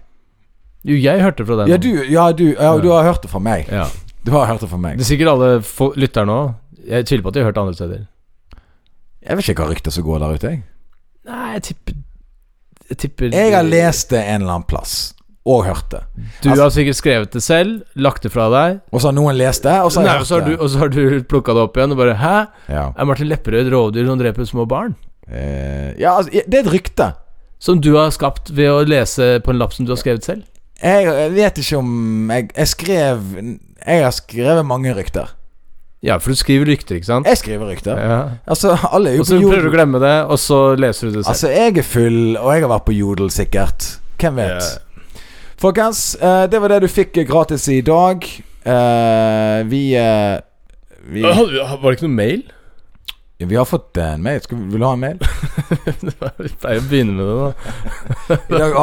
Speaker 2: Jo, jeg hørte fra deg
Speaker 3: Ja,
Speaker 2: nå.
Speaker 3: du, ja, du, ja, du har hørt det fra meg.
Speaker 2: Ja.
Speaker 3: Du har hørt det fra meg.
Speaker 2: Det er sikkert alle fo- lytterne òg. Jeg tviler på at de har hørt det andre steder.
Speaker 3: Jeg vet ikke hva rykter som går der ute, jeg.
Speaker 2: Nei, jeg tipper Jeg tipper
Speaker 3: Jeg har lest det en eller annen plass, og hørt det.
Speaker 2: Du har sikkert skrevet det selv, lagt det fra deg,
Speaker 3: Og så har noen lest det, og så har
Speaker 2: Nei,
Speaker 3: jeg
Speaker 2: og så har
Speaker 3: hørt
Speaker 2: du,
Speaker 3: det.
Speaker 2: og så har du plukka det opp igjen og bare Hæ?
Speaker 3: Ja.
Speaker 2: Er Martin Lepperød rovdyr som dreper små barn?
Speaker 3: Eh, ja, altså, det er et rykte.
Speaker 2: Som du har skapt ved å lese på en lapp som du har skrevet selv?
Speaker 3: Jeg, jeg vet ikke om jeg, jeg skrev Jeg har skrevet mange rykter.
Speaker 2: Ja, for du skriver rykter, ikke sant?
Speaker 3: Jeg skriver rykter.
Speaker 2: Ja.
Speaker 3: Altså, alle er jo
Speaker 2: Og så
Speaker 3: på
Speaker 2: prøver du å
Speaker 3: Jodel.
Speaker 2: glemme det, og så leser du det selv.
Speaker 3: Altså, jeg er full, og jeg har vært på Jodel, sikkert. Hvem vet?
Speaker 2: Ja.
Speaker 3: Folkens, eh, det var det du fikk gratis i dag. Eh, vi, eh, vi
Speaker 2: Hadde vi- Var det ikke noe mail?
Speaker 3: Vi har fått en mail. Skal, vi- vil du ha en mail?
Speaker 2: Vi pleier å begynne med det, da.
Speaker 3: I dag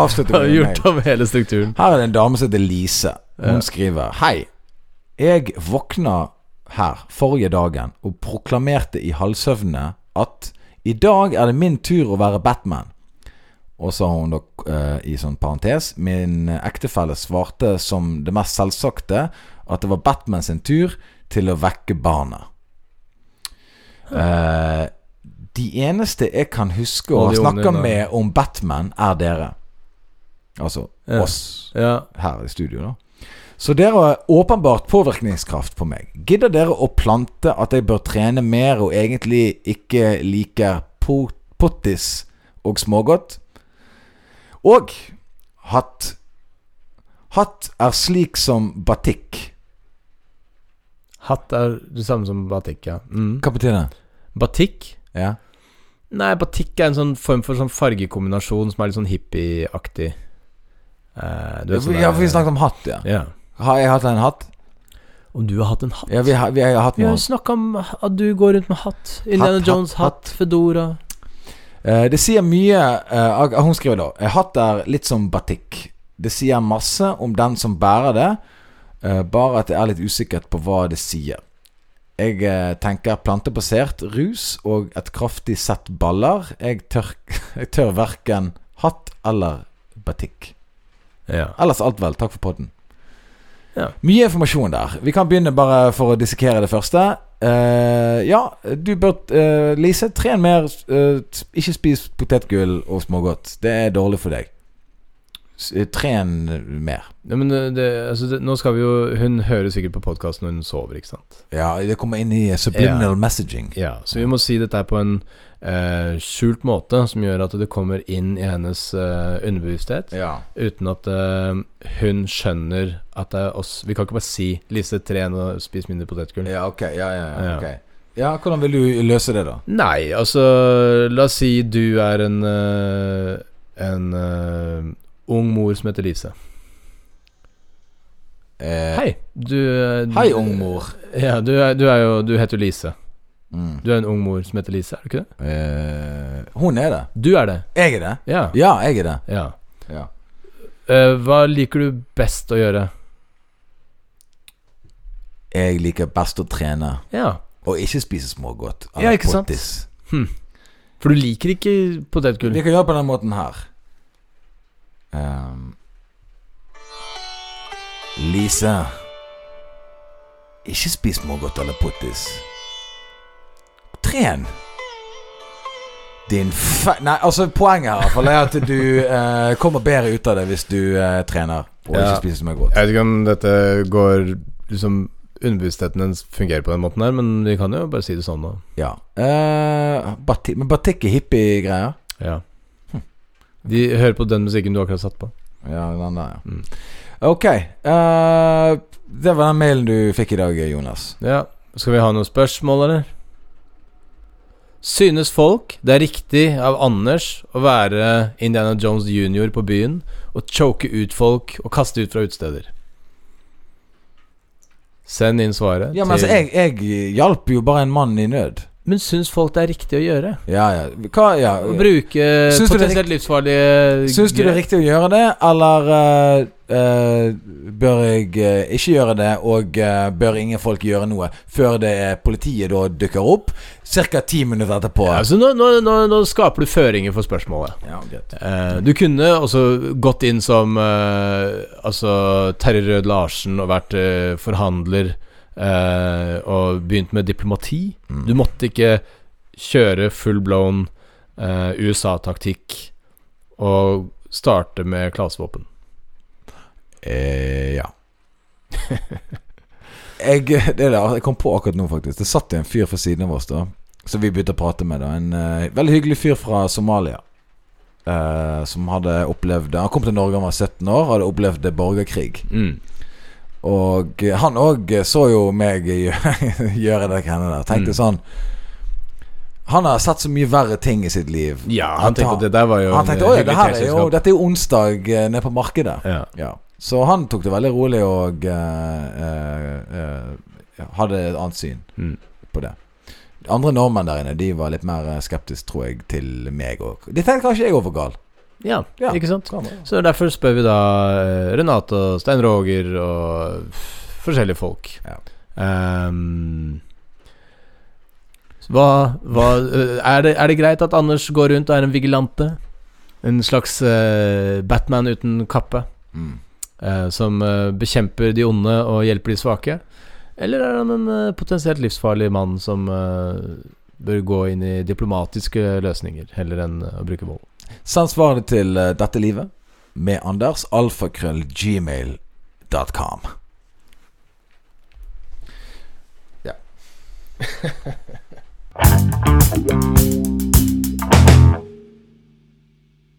Speaker 2: Vi har
Speaker 3: avslutter vi med en mail.
Speaker 2: gjort om hele strukturen.
Speaker 3: Her er det en dame som heter Lise. Hun skriver Hei. Jeg våkna her forrige dagen og proklamerte i halvsøvne at i dag er det min tur å være Batman. Og så har hun da eh, i sånn parentes Min ektefelle svarte som det mest selvsagte at det var Batman sin tur til å vekke barna. Eh, de eneste jeg kan huske å
Speaker 2: Og de
Speaker 3: snakke
Speaker 2: ungene.
Speaker 3: med om Batman, er dere. Altså
Speaker 2: Ja.
Speaker 3: oss
Speaker 2: Ja.
Speaker 3: her i studio, da. Så dere har åpenbart påvirkningskraft på meg. Gidder dere å plante at jeg bør trene mer og egentlig ikke liker po- pottis og smågodt? Og hatt Hatt er slik som batikk.
Speaker 2: Hatt er det samme som batikk, ja. Mm.
Speaker 3: Hva betyr det?
Speaker 2: Batikk?
Speaker 3: Ja.
Speaker 2: Nei, batikk er en sånn form for sånn fargekombinasjon som er litt sånn hippieaktig. Eh, du
Speaker 3: Ja,
Speaker 2: vet
Speaker 3: for
Speaker 2: sånn
Speaker 3: ja,
Speaker 2: der-
Speaker 3: for vi snakket om hatt, ja.
Speaker 2: Ja.
Speaker 3: Har jeg hatt en hatt?
Speaker 2: Om du har hatt en hatt?
Speaker 3: Ja, vi har, vi har hatt
Speaker 2: Vi har
Speaker 3: noen.
Speaker 2: jo snakka om at du går rundt med hatt. Indiana
Speaker 3: Hatt, hatt,
Speaker 2: Jones, hatt, Fedora.
Speaker 3: Eh, Det sier mye eh, ag- Hun skriver da eh, Hatt er litt som batikk. Det sier masse om den som bærer det, eh, bare at jeg er litt usikkert på hva det sier. Jeg eh, tenker plantebasert rus og et kraftig sett baller. Jeg tør, jeg tør verken hatt eller batikk.
Speaker 2: Ja.
Speaker 3: Ellers alt vel. Takk for podden.
Speaker 2: Ja.
Speaker 3: Mye informasjon der. Vi kan begynne bare for å dissekere det første. Eh, ja, du bør eh, Lise, tren mer. eh, s- ikke spis potetgull og smågodt. Det er dårlig for deg. S eh, tren mer.
Speaker 2: Ja, men eh, det, altså, det, nå skal vi jo Hun hører sikkert på podkasten når hun sover, ikke sant?
Speaker 3: Ja, det kommer inn i eh, subliminal messaging.
Speaker 2: Ja, Så vi må si dette her på en eh, skjult måte som gjør at det kommer inn i hennes eh, underbevissthet.
Speaker 3: Ja.
Speaker 2: Uten at eh, hun skjønner at det er oss Vi kan ikke bare si 'Lise, tren og spis mindre potetgull'.
Speaker 3: Ja, ok. Ja, ja, ja,
Speaker 2: Ja.
Speaker 3: ok. ja, hvordan vil du løse det, da?
Speaker 2: Nei, altså La oss si du er en eh, En eh, ung mor som heter Lise.
Speaker 3: Eh,
Speaker 2: Hei, du eh,
Speaker 3: Hei, ung mor.
Speaker 2: Ja, du, er, du, er jo, du heter jo Lise.
Speaker 3: Mm.
Speaker 2: Du er en ung mor som heter Lise, er du ikke det?
Speaker 3: Eh, hun er det.
Speaker 2: Du er det.
Speaker 3: Jeg er det.
Speaker 2: Ja.
Speaker 3: Ja, jeg er det.
Speaker 2: ja.
Speaker 3: Ja.
Speaker 2: Eh, hva liker du best å gjøre?
Speaker 3: Jeg liker best å trene
Speaker 2: Ja.
Speaker 3: og ikke spise smågodt.
Speaker 2: Ja, ikke sant?
Speaker 3: pottis.
Speaker 2: For du liker ikke potetgull?
Speaker 3: Vi kan gjøre det på den måten her. Ehm. Lise, ikke spis smågodt eller pottis. Tren. Din fe... Nei, altså poenget her i hvert fall er at du eh, kommer bedre ut av det hvis du eh, trener og
Speaker 2: Ja.
Speaker 3: ikke spiser smågodt.
Speaker 2: Jeg vet ikke om dette går Liksom Underbevisstheten dens fungerer på den måten her, men vi kan jo bare si det sånn, da.
Speaker 3: Ja. Eh, bati men batikk er hippie-greier.
Speaker 2: Ja.
Speaker 3: Hm.
Speaker 2: De hører på den musikken du akkurat satt på.
Speaker 3: Ja, den der, ja.
Speaker 2: Mm.
Speaker 3: Ok. eh, det var den mailen du fikk i dag, Jonas.
Speaker 2: Ja, Skal vi ha noen spørsmål, eller? Synes folk det er riktig av Anders å være Indiana Jones jr. på byen og choke ut folk og kaste ut fra utesteder? Send inn svaret.
Speaker 3: Ja, men altså,
Speaker 2: til-
Speaker 3: jeg, jeg hjalp jo bare en mann i nød.
Speaker 2: men syns folk det er riktig å gjøre?
Speaker 3: Ja, ja. Hva, ja.
Speaker 2: Å bruke
Speaker 3: Syns du det er
Speaker 2: potensielt livsfarlige
Speaker 3: Syns du det er riktig å gjøre det, eller eh, eh, bør jeg eh, ikke gjøre det, og eh, bør ingen folk gjøre noe før det er politiet da dukker opp, ca. ti minutter etterpå?
Speaker 2: Ja,
Speaker 3: Ja,
Speaker 2: altså, nå, nå, nå, nå skaper du føringer for spørsmålet.
Speaker 3: greit.
Speaker 2: Eh, du kunne også gått inn som eh, altså Terje Rød Larsen og vært eh, forhandler eh, og begynt med diplomati.
Speaker 3: Mm.
Speaker 2: Du måtte ikke kjøre full-blown eh, USA-taktikk og starte med klasevåpen.
Speaker 3: Eh, ja. jeg, det der, jeg kom på akkurat nå, faktisk. Det satt en fyr for siden av oss, da. Så vi begynte å prate med. da En eh, veldig hyggelig fyr fra Somalia. eh, som hadde opplevd Han kom til Norge da han var 17 år, hadde opplevd borgerkrig.
Speaker 2: Mm.
Speaker 3: Og eh, han òg så jo meg gjø- gjøre det greiene der. Tenkte sånn Han har sett så mye verre ting i sitt liv.
Speaker 2: Ja, han tenkte at det der var jo
Speaker 3: Han
Speaker 2: en
Speaker 3: tenkte, «Oi,
Speaker 2: hyggelig
Speaker 3: det her er jo,
Speaker 2: teselskap».
Speaker 3: Dette er jo onsdag eh, nede på markedet.
Speaker 2: Ja.
Speaker 3: Ja. Så han tok det veldig rolig og eh, eh, eh, hadde et annet syn
Speaker 2: Mm.
Speaker 3: på det. Andre nordmenn der inne De var litt mer eh, skeptiske, tror jeg, til meg òg. De tenkte kanskje jeg var for gal.
Speaker 2: Ja,
Speaker 3: Ja.
Speaker 2: ikke sant? Så derfor spør vi da eh, Renate og Stein Roger og f- forskjellige folk.
Speaker 3: Ja.
Speaker 2: Ehm, hva, hva eh, er, det, er det greit at Anders går rundt og er en vigilante? En slags eh, Batman uten kappe,
Speaker 3: Mm.
Speaker 2: eh, som eh, bekjemper de onde og hjelper de svake? Eller er han en eh, potensielt livsfarlig mann som eh, bør gå inn i diplomatiske løsninger, heller enn eh, å bruke vold?
Speaker 3: Send svaret til eh, Dette livet med Anders. Alfakrøllgmail.com. Ja.